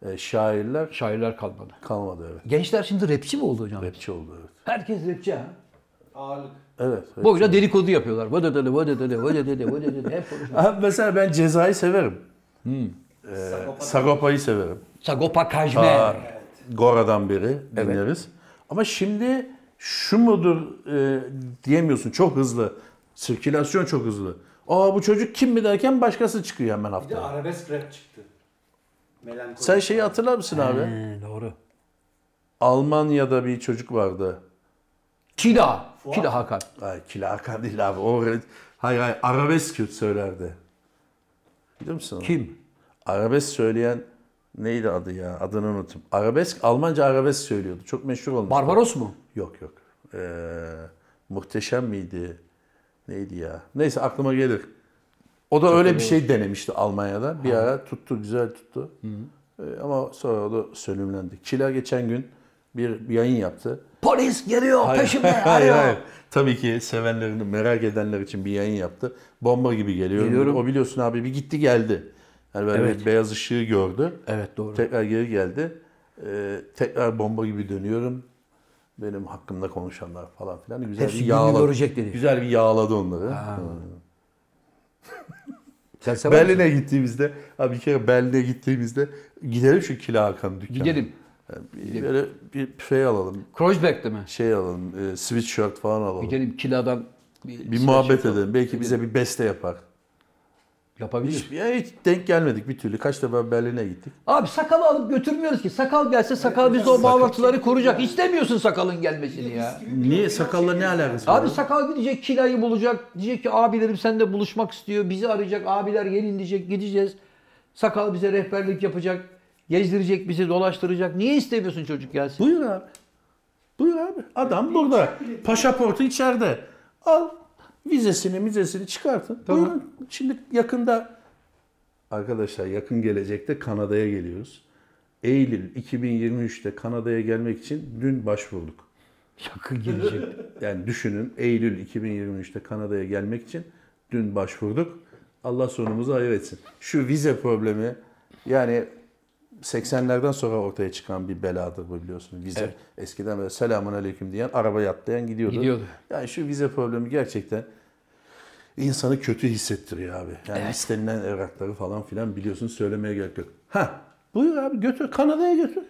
B: e, şairler
A: Şairler kalmadı.
B: kalmadı evet.
A: Gençler şimdi rapçi mi oldu hocam?
B: Rapçi oldu evet.
A: Herkes rapçi ha.
C: Ağırlık.
B: Evet. evet.
A: Boyuna dedikodu yapıyorlar. Vadedele, vadedele, vadedele, vadedele. Hep konuşuyorlar.
B: Abi mesela ben Ceza'yı severim. Ee, Sagopa'yı severim.
A: Sagopa
B: Aa,
C: Ee,
A: Kajmer.
B: Gora'dan beri dinleriz. Ama şimdi şu mudur e, diyemiyorsun. Çok hızlı. Sirkülasyon çok hızlı. Aa bu çocuk kim mi derken başkası çıkıyor hemen
C: Bir de
B: haftaya.
C: arabesk rap çıktı. Melankoli.
B: Sen şeyi hatırlar mısın
C: Ee.
B: abi?
A: He, doğru.
B: Almanya'da bir çocuk vardı.
A: Kila.
C: Fuat.
A: Kila Hakan.
B: Ay kilaka değil abi. O, re- hayır hayır arabesk söylerdi. Biliyor musun? onu?
A: Kim?
B: Arabesk söyleyen neydi adı ya? Adını unuttum. Arabesk, Almanca arabesk söylüyordu. Çok meşhur olmuş.
A: Barbaros mu?
B: Yok yok. Ee, muhteşem miydi? Neydi ya? Neyse aklıma gelir. O da öyle bir şey denemişti Almanya'da. Bir ara tuttu, güzel tuttu. Ee, ama sonra o da sönümlendi. Kila geçen gün bir yayın yaptı.
A: Polis geliyor peşimde.
B: hayır,
A: arıyor.
B: hayır. Tabii ki sevenlerini merak edenler için bir yayın yaptı. Bomba gibi geliyor.
A: Geliyorum.
B: O biliyorsun abi bir gitti geldi. Yani böyle
A: Evet.
B: bir beyaz ışığı gördü.
A: Evet doğru.
B: Tekrar geri geldi. Ee, tekrar bomba gibi dönüyorum. Benim hakkımda konuşanlar falan filan. Güzel
A: Hepsi
B: bir
A: gününü
B: yağladı.
A: görecek dedi.
B: Güzel bir yağladı onları. Hı.
A: Sen sever misin?
B: Berlin'e gittiğimizde, abi bir kere Berlin'e gittiğimizde gidelim şu Kila Hakan dükkanı.
A: Gidelim.
B: Bir, böyle bir şey alalım,
A: Kreuzberg'de mi?
B: şey alalım, e, sweatshirt falan alalım.
A: Gidelim Kila'dan
B: Bir
A: şey
B: muhabbet edelim. Belki bize bir beste yapar.
A: Yapabilir.
B: Hiç, ya hiç denk gelmedik bir türlü. Kaç defa Berlin'e gittik.
A: Abi sakalı alıp götürmüyoruz ki. Sakal gelse sakal bize o bağlantıları koruyacak. İstemiyorsun sakalın gelmesini ya.
C: şey
B: Niye? Sakalla ne alakası
A: Abi sakal gidecek kilayı bulacak. Diyecek ki abilerim seninle buluşmak istiyor. Bizi arayacak. Abiler gelin diyecek. Gideceğiz. Sakal bize rehberlik yapacak. Gezdirecek bizi dolaştıracak. Niye istemiyorsun çocuk gelsin?
B: Buyur abi. Buyur abi. Adam burada. Pasaportu içeride. Al vizesini vizesini çıkartın.
A: Tamam.
B: Buyurun. Şimdi yakında arkadaşlar yakın gelecekte Kanada'ya geliyoruz. Eylül 2023'te Kanada'ya gelmek için dün başvurduk.
A: Yakın gelecek.
B: Yani düşünün Eylül 2023'te Kanada'ya gelmek için dün başvurduk. Allah sonumuzu hayır etsin. Şu vize problemi yani 80'lerden sonra ortaya çıkan bir beladır bu biliyorsunuz vize. Eskiden böyle selamun aleyküm diyen arabaya atlayan gidiyordu.
A: Gidiyordu.
B: Yani şu vize problemi gerçekten insanı kötü hissettiriyor abi. Yani istenilen evrakları falan filan biliyorsun söylemeye gerek yok. Ha buyur abi götür Kanada'ya götür.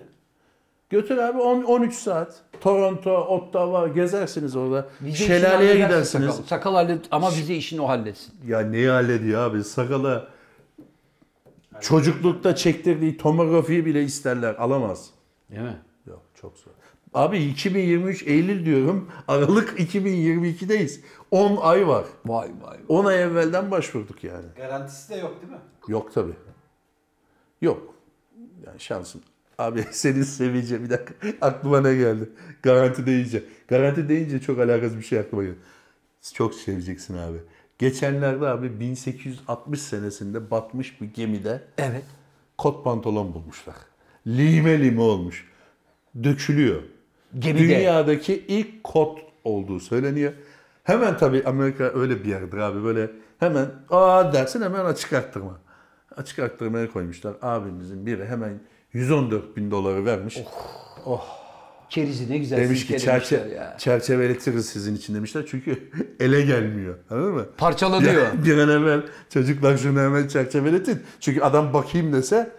B: Götür abi 10 13 saat. Toronto, Ottawa gezersiniz orada.
A: Bize işini
B: Şelaleye
A: halledersin
B: gidersiniz.
A: Sakal, sakal hallet ama bize işini o halletsin.
B: Ya neyi hallediyor abi sakala. Çocuklukta çektirdiği tomografiyi bile isterler. Alamaz.
A: Değil mi?
B: Yok çok zor. Abi 2023 Eylül diyorum. Aralık 2022'deyiz. 10 ay var.
A: Vay vay vay.
B: 10 ay evvelden başvurduk yani.
C: Garantisi de yok değil mi?
B: Yok tabi. Yok. Yani şansım. Abi senin sevince bir dakika aklıma ne geldi? Garanti deyince. Garanti deyince çok alakasız bir şey aklıma geldi. Çok seveceksin abi. Geçenlerde abi 1860 senesinde batmış bir gemide
A: Evet.
B: kot pantolon bulmuşlar. Lime lime olmuş. Dökülüyor.
A: Gemide.
B: Dünyadaki ilk kot olduğu söyleniyor. Hemen tabii Amerika öyle bir yerdir abi böyle hemen aa dersin hemen açık arttırma. Açık arttırmaya koymuşlar. Abimizin biri hemen 114 bin doları vermiş.
A: Oh, Kerizi ne güzel
B: Demiş ki
A: silkelemişler
B: çerçe,
A: ya.
B: çerçeveletiriz sizin için demişler. Çünkü ele gelmiyor. Anladın mı?
A: Parçala
B: Ya,
A: diyor.
B: bir an evvel çocuklar şunu hemen çerçeveletin. Çünkü adam bakayım dese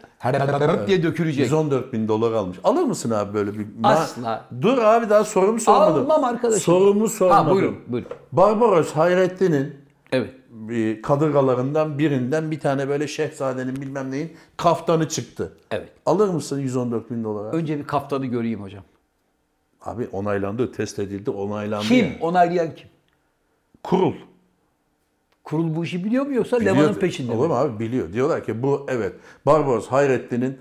A: diye dökülecek.
B: 114 bin dolar almış. Alır mısın abi böyle bir? ma-
A: Asla.
B: Dur abi daha sorumu sormadım.
A: Almam arkadaşım.
B: Sorumu sormadım.
A: Ha buyurun buyurun.
B: Barbaros Hayrettin'in
A: Evet.
B: bir kadırgalarından birinden bir tane böyle şehzadenin bilmem neyin kaftanı çıktı.
A: Evet.
B: Alır mısın 114 bin dolara?
A: Önce bir kaftanı göreyim hocam.
B: Abi onaylandı, test edildi, onaylandı.
A: Kim?
B: yani.
A: Onaylayan kim?
B: Kurul.
A: Kurul bu işi biliyor mu yoksa Levan'ın
B: Biliyordu.
A: peşinde
B: Olur
A: mi?
B: mu abi biliyor. Diyorlar ki bu evet Barbaros Hayrettin'in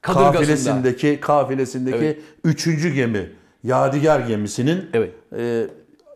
A: Kadırgasında.
B: kafilesindeki kafilesindeki üçüncü gemi Yadigar gemisinin
A: Evet.
B: e,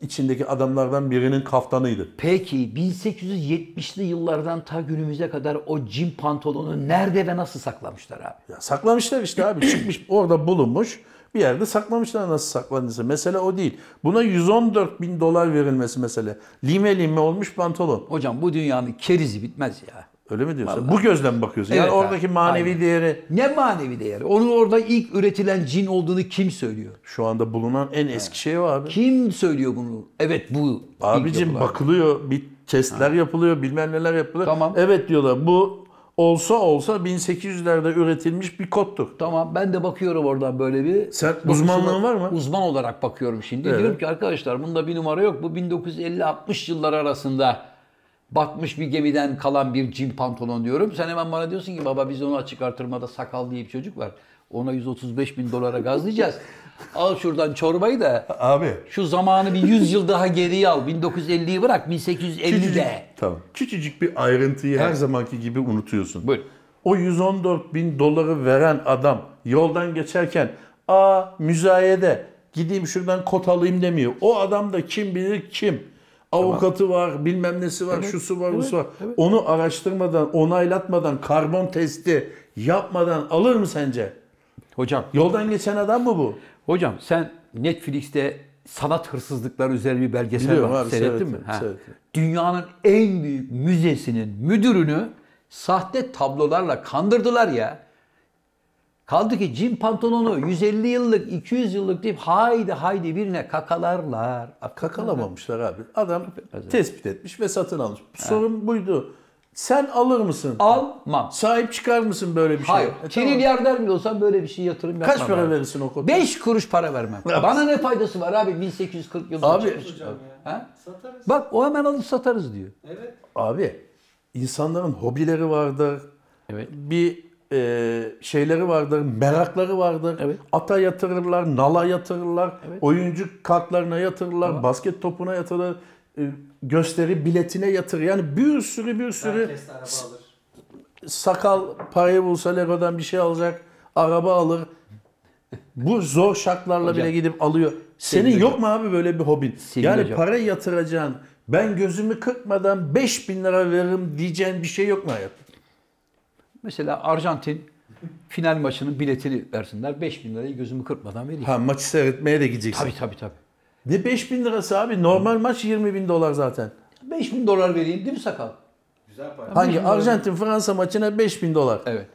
B: içindeki adamlardan birinin kaftanıydı.
A: Peki 1870'li yıllardan ta günümüze kadar o cin pantolonu nerede ve nasıl saklamışlar abi?
B: Ya saklamışlar işte abi çıkmış orada bulunmuş bir yerde saklamışlar nasıl saklandıysa. Mesele o değil. Buna 114 bin dolar verilmesi mesele. Lime lime olmuş pantolon.
A: Hocam bu dünyanın kerizi bitmez ya.
B: Öyle mi diyorsun? Bu gözden bakıyorsun. yani
A: Evet abi,
B: oradaki manevi
A: aynen.
B: değeri
A: Ne manevi değeri? Onun orada ilk üretilen cin olduğunu kim söylüyor?
B: şu anda bulunan en eski şey o abi.
A: Kim söylüyor bunu? Evet bu. ilk
B: Abicim
A: yapılan.
B: bakılıyor, bir testler yapılıyor, bilmem neler yapılıyor.
A: Tamam.
B: Evet diyorlar bu olsa olsa 1800'lerde üretilmiş bir koddur.
A: Tamam ben de bakıyorum oradan böyle bir.
B: Sen
A: Bakışıma-
B: uzmanlığın var mı?
A: Uzman olarak bakıyorum şimdi.
B: Evet.
A: Diyorum ki arkadaşlar bunda bir numara yok. Bu 1950-60 yılları arasında batmış bir gemiden kalan bir cin pantolon diyorum. Sen hemen bana diyorsun ki baba biz onu açık artırmada sakal diye bir çocuk var. Ona 135 bin dolara gazlayacağız. Al şuradan çorbayı da
B: Abi.
A: şu zamanı bir 100 yıl daha geriye al. 1950'yi bırak 1850'de.
B: Tamam. Küçücük bir ayrıntıyı her zamanki gibi unutuyorsun.
A: Buyur.
B: O 114 bin doları veren adam yoldan geçerken aa müzayede gideyim şuradan kot alayım demiyor. O adam da kim bilir kim. Avukatı var, bilmem nesi var, şusu var, busu var. Onu araştırmadan, onaylatmadan, karbon testi yapmadan alır mı sence?
A: Hocam
B: Yoldan geçen adam mı bu?
A: Hocam sen Netflix'te sanat hırsızlıkları üzerine bir belgesel
B: Biliyorum
A: var.
B: abi,
A: Seyrettin mi?
B: seyrettim, seyrettim.
A: Dünyanın en büyük müzesinin müdürünü sahte tablolarla kandırdılar ya. Kaldı ki cin pantolonu 150 yıllık, 200 yıllık deyip haydi haydi birine kakalarlar.
B: Kakalamamışlar abi. Adam tespit etmiş ve satın almış. Sorun buydu. Sen alır mısın?
A: Almam.
B: Sahip çıkar mısın böyle bir şey?
A: Hayır. Trilyarder bile olsam böyle bir şey yatırım yapmam.
B: Kaç para verirsin o kota?
A: 5 kuruş para vermem. Bana ne faydası var abi 1840 yılında
B: Abi-
A: çıkmış.
C: Hocam ya.
A: Ha?
C: Satarız.
A: Bak o hemen alıp satarız diyor.
C: Evet.
B: Abi insanların hobileri vardır.
A: Evet.
B: Bir e, şeyleri vardır, merakları vardır.
A: Evet.
B: Ata yatırırlar, nala yatırırlar, oyuncu kartlarına yatırırlar, basket topuna yatırırlar, e, gösteri biletine yatırır. Yani bir sürü bir sürü
C: Herkes de araba alır.
B: sakal parayı bulsa Lego'dan bir şey alacak, araba alır. Bu zor şartlarla bile gidip alıyor. Senin
A: hocam.
B: yok mu abi böyle bir hobin?
A: Sevgili
B: yani
A: hocam.
B: para yatıracağın, ben gözümü kırpmadan 5000 lira veririm diyeceğin bir şey yok mu hayat?
A: Mesela Arjantin final maçının biletini versinler. 5000 lirayı gözümü kırpmadan vereyim.
B: E, Ha maçı seyretmeye de gideceksin.
A: Tabii tabii tabii.
B: Ne 5000 lirası abi? Normal maç 20 bin dolar zaten.
A: 5000 dolar vereyim değil mi sakal?
C: Güzel para.
B: Hangi? Arjantin Fransa maçına 5000 dolar.
A: Evet.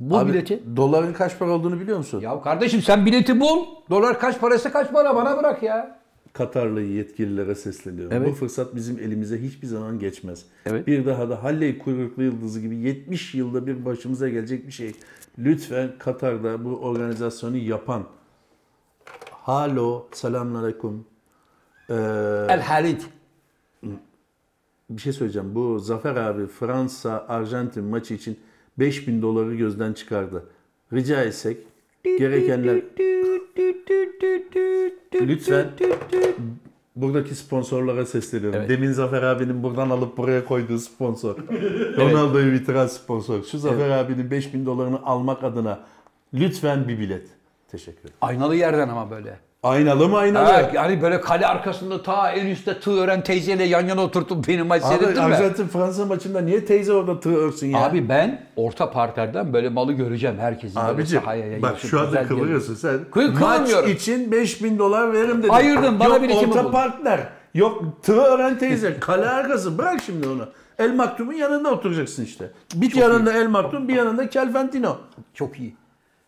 A: Bu
B: Abi,
A: bileti...
B: Doların kaç para olduğunu biliyor musun?
A: Ya kardeşim sen bileti bul. Dolar kaç parası kaç para bana bırak ya.
B: Katarlı yetkililere sesleniyorum.
A: Evet.
B: Bu fırsat bizim elimize hiçbir zaman geçmez.
A: Evet.
B: Bir daha da Halley kuyruklu yıldızı gibi 70 yılda bir başımıza gelecek bir şey. Lütfen Katar'da bu organizasyonu yapan Halo, selamünaleyküm. Ee,
A: El Halit.
B: bir şey söyleyeceğim. Bu Zafer abi Fransa Arjantin maçı için 5000 doları gözden çıkardı. Rica etsek gerekenler lütfen buradaki sponsorlara sesleniyorum.
A: Evet.
B: Demin Zafer abinin buradan alıp buraya koyduğu sponsor. Ronaldo'yu bitiren sponsor. Şu Zafer abinin 5000 dolarını almak adına lütfen bir bilet. Teşekkür ederim.
A: Aynalı yerden ama böyle.
B: Aynalı mı aynalı?
A: Ha, yani böyle kale arkasında ta en üstte tığ ören teyzeyle yan yana oturttum benim maç
B: Abi
A: seyrettin mi?
B: Arjantin Fransa maçında niye teyze orada tığ örsün ya?
A: Abi ben orta parterden böyle malı göreceğim herkesin. böyle
B: Abicim
A: sahaya
B: bak
A: yayılsın,
B: şu
A: güzel
B: anda
A: bir-
B: kıvırıyorsun sen.
A: Kıvır-
B: Maç
A: kıvırmıyorum.
B: için 5000 dolar veririm dedim.
A: Ayırdım, bana
B: Yok,
A: birikimi
B: orta
A: bul.
B: partner. Yok tığ öğren teyze. Kale arkası. Bırak şimdi onu. El Maktum'un yanında oturacaksın işte. Bir yanında El Maktum bir yanında Kelventino.
A: Çok iyi.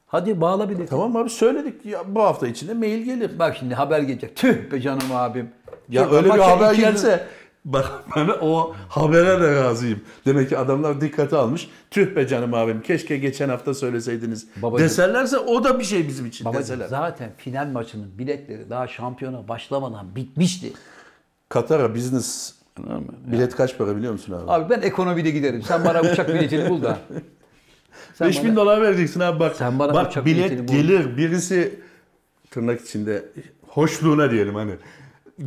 A: Hadi bağla bir de.
B: Tamam abi söyledik. Ya, bu hafta içinde mail gelir.
A: Bak şimdi haber gelecek. Tüh be canım abim.
B: Ya
A: Yok,
B: öyle bir
A: maça
B: haber
A: iki yıl-
B: gelse bak ben o habere de razıyım. Demek ki adamlar dikkate almış. Tüh be canım abim keşke geçen hafta söyleseydiniz.
A: Babacım.
B: Deserlerse o da bir şey bizim için
A: Babacım,
B: deseler.
A: zaten final maçının biletleri daha şampiyona başlamadan bitmişti.
B: Katar'a business bilet kaç para biliyor musun abi?
A: Abi ben ekonomide giderim. Sen bana uçak biletini bul da. Sen
B: 5000
A: bana-
B: dolar vereceksin abi bak.
A: Sen bana
B: bak
A: uçak
B: bilet
A: biletini bul.
B: gelir birisi tırnak içinde hoşluğuna diyelim hani.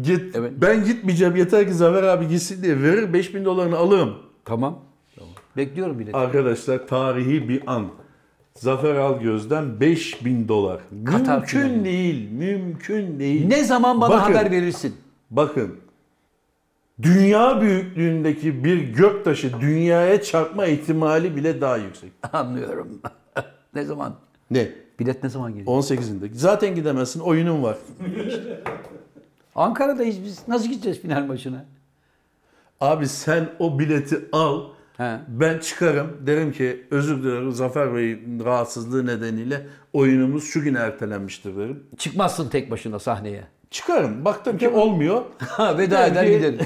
B: Git,
A: Evet.
B: Ben gitmeyeceğim yeter ki Zafer abi gitsin diye verir 5000 dolarını alırım.
A: Tamam. Bekliyorum bileti.
B: Arkadaşlar tarihi bir an. Zafer Algöz'den 5000 dolar.
A: Katar
B: Mümkün
A: finali.
B: değil, mümkün değil.
A: Ne zaman bana
B: Bakın.
A: haber verirsin?
B: Bakın. Dünya büyüklüğündeki bir göktaşı dünyaya çarpma ihtimali bile daha yüksek.
A: Anlıyorum. ne zaman?
B: Ne?
A: Bilet ne zaman geliyor?
B: 18'inde. Zaten gidemezsin. Oyunun var.
A: Ankara'dayız biz. Nasıl gideceğiz final maçına?
B: Abi sen o bileti al.
A: He.
B: Ben çıkarım. Derim ki özür dilerim Zafer Bey'in rahatsızlığı nedeniyle oyunumuz şu gün ertelenmiştir derim.
A: Çıkmazsın tek başına sahneye.
B: Çıkarım. Baktım ki olmuyor.
A: Ha veda eder
B: Belki-
A: giderim.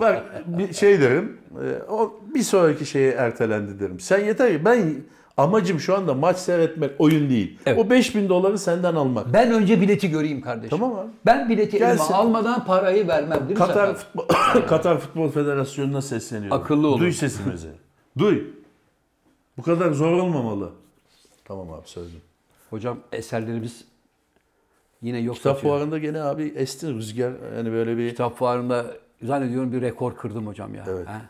B: Bak bir şey derim. e, O bir sonraki şeye ertelendi derim. Sen yeter ki ben amacım şu anda maç seyretmek, oyun değil.
A: Evet.
B: O 5000 doları senden almak.
A: Ben önce bileti göreyim kardeşim.
B: Tamam abi.
A: Ben bileti
B: Gelsin.
A: elime almadan parayı vermem. Değil mi
B: Katar
A: Sakal?
B: Futbol, Katar Futbol Federasyonu'na sesleniyorum.
A: Akıllı olun.
B: Duy sesimizi. Duy. Bu kadar zor olmamalı. Tamam abi söyledim.
A: Hocam eserlerimiz yine yok.
B: Kitap
A: satıyor.
B: fuarında gene abi esti rüzgar. Yani böyle bir
A: Kitap fuarında zannediyorum bir rekor kırdım hocam ya.
B: Evet.
A: Ha?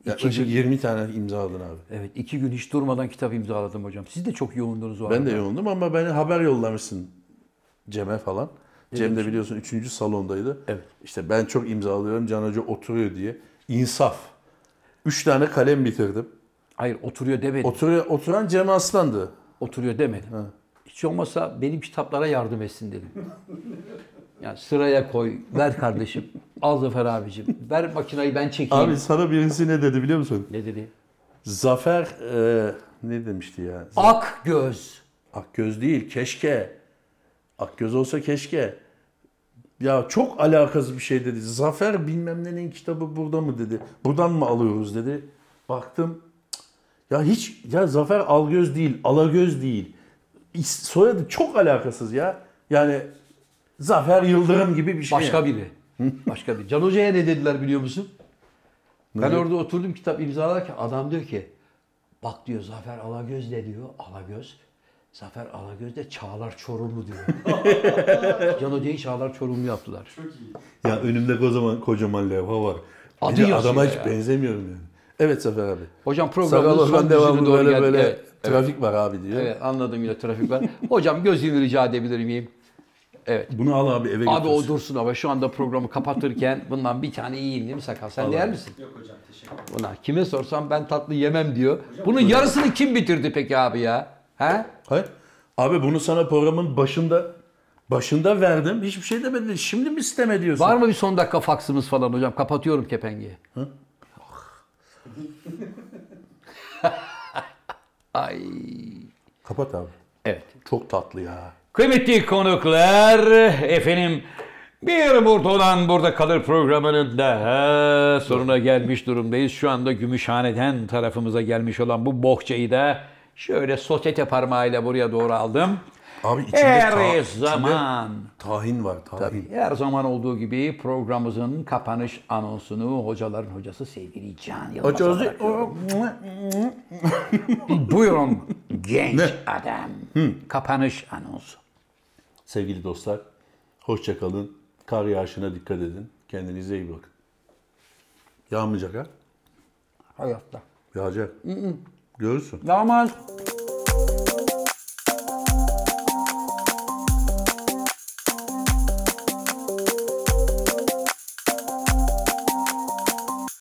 A: İki
B: yaklaşık
A: gün,
B: 20 tane imzaladın abi.
A: evet iki gün hiç durmadan kitap imzaladım hocam. Siz de çok yoğundunuz o
B: Ben
A: arada.
B: de yoğundum ama beni haber yollamışsın Cem'e falan. Cem de
A: demişim?
B: biliyorsun 3. salondaydı.
A: Evet.
B: İşte ben çok imzalıyorum Can Hoca oturuyor diye. İnsaf. 3 tane kalem bitirdim.
A: Hayır oturuyor demedim.
B: Oturuyor, oturan Cem Aslan'dı.
A: oturuyor demedim. Hiç olmazsa benim kitaplara yardım etsin dedim. Yani sıraya koy, ver kardeşim. Al Zafer abicim. Ver makinayı ben çekeyim.
B: Abi sana birisi ne dedi biliyor musun?
A: Ne dedi?
B: Zafer e, ne demişti ya? Z-
A: Ak göz.
B: Akgöz değil keşke. Akgöz olsa keşke. Ya çok alakasız bir şey dedi. Zafer bilmem nenin kitabı burada mı dedi. Buradan mı alıyoruz dedi. Baktım. cık, Ya hiç ya Zafer Algöz değil, Alagöz değil. İs- Soyadı çok alakasız ya. Yani Zafer Yıldırım gibi bir şey.
A: Başka biri. Başka biri. Can Hoca'ya ne dediler biliyor musun? Ben
B: Ne?
A: orada oturdum kitap imzalarken adam diyor ki bak diyor Zafer Alagöz ne diyor? Alagöz. Zafer Alagöz de Çağlar Çorumlu diyor. Can Hoca'yı Çağlar Çorumlu yaptılar.
C: Çok iyi.
B: Ya önümde kocaman kocaman levha var.
A: Adı
B: Bir de
A: yazıyor
B: adama hiç
A: ya.
B: benzemiyorum yani. Evet Zafer abi.
A: Hocam
B: Sakal
A: programın son
B: Orhan
A: devamı
B: devamlı
A: doğru
B: böyle
A: geldik.
B: böyle
A: Evet.
B: trafik var abi diyor.
A: Evet anladım yine trafik var. Hocam gözünü rica edebilir miyim? Evet.
B: Bunu al abi eve
A: Abi o
B: götürsün.
A: dursun ama şu anda programı kapatırken bundan bir tane yiyeyim değil mi Sakal? Sen değer misin?
C: Yok hocam teşekkür ederim.
A: Buna kime sorsam ben tatlı yemem diyor. Bunun yarısını kim bitirdi peki abi ya? He?
B: Hayır. Abi bunu sana programın başında başında verdim. Hiçbir şey demedin. Şimdi mi isteme diyorsun?
A: Var mı bir son dakika faksımız falan hocam? Kapatıyorum kepengi. Ay.
B: Kapat abi.
A: Evet.
B: Çok tatlı ya.
D: Kıymetli konuklar, efendim bir burada olan burada kalır programının daha sonuna gelmiş durumdayız. Şu anda Gümüşhane'den tarafımıza gelmiş olan bu bohçayı da şöyle sotete parmağıyla buraya doğru aldım.
B: Abi içinde, ta-
D: Her
B: içinde
D: zaman.
B: tahin var tahin.
D: Her zaman olduğu gibi programımızın kapanış anonsunu hocaların hocası sevgili Can Yılmaz'a
B: Acozlu.
D: bırakıyorum. Buyurun genç adam. Kapanış anonsu.
B: Sevgili dostlar, hoşça kalın. Kar yağışına dikkat edin. Kendinize iyi bakın. Yağmayacak ha?
A: Hayatta.
B: Yağacak. Görürsün.
A: Yağmaz.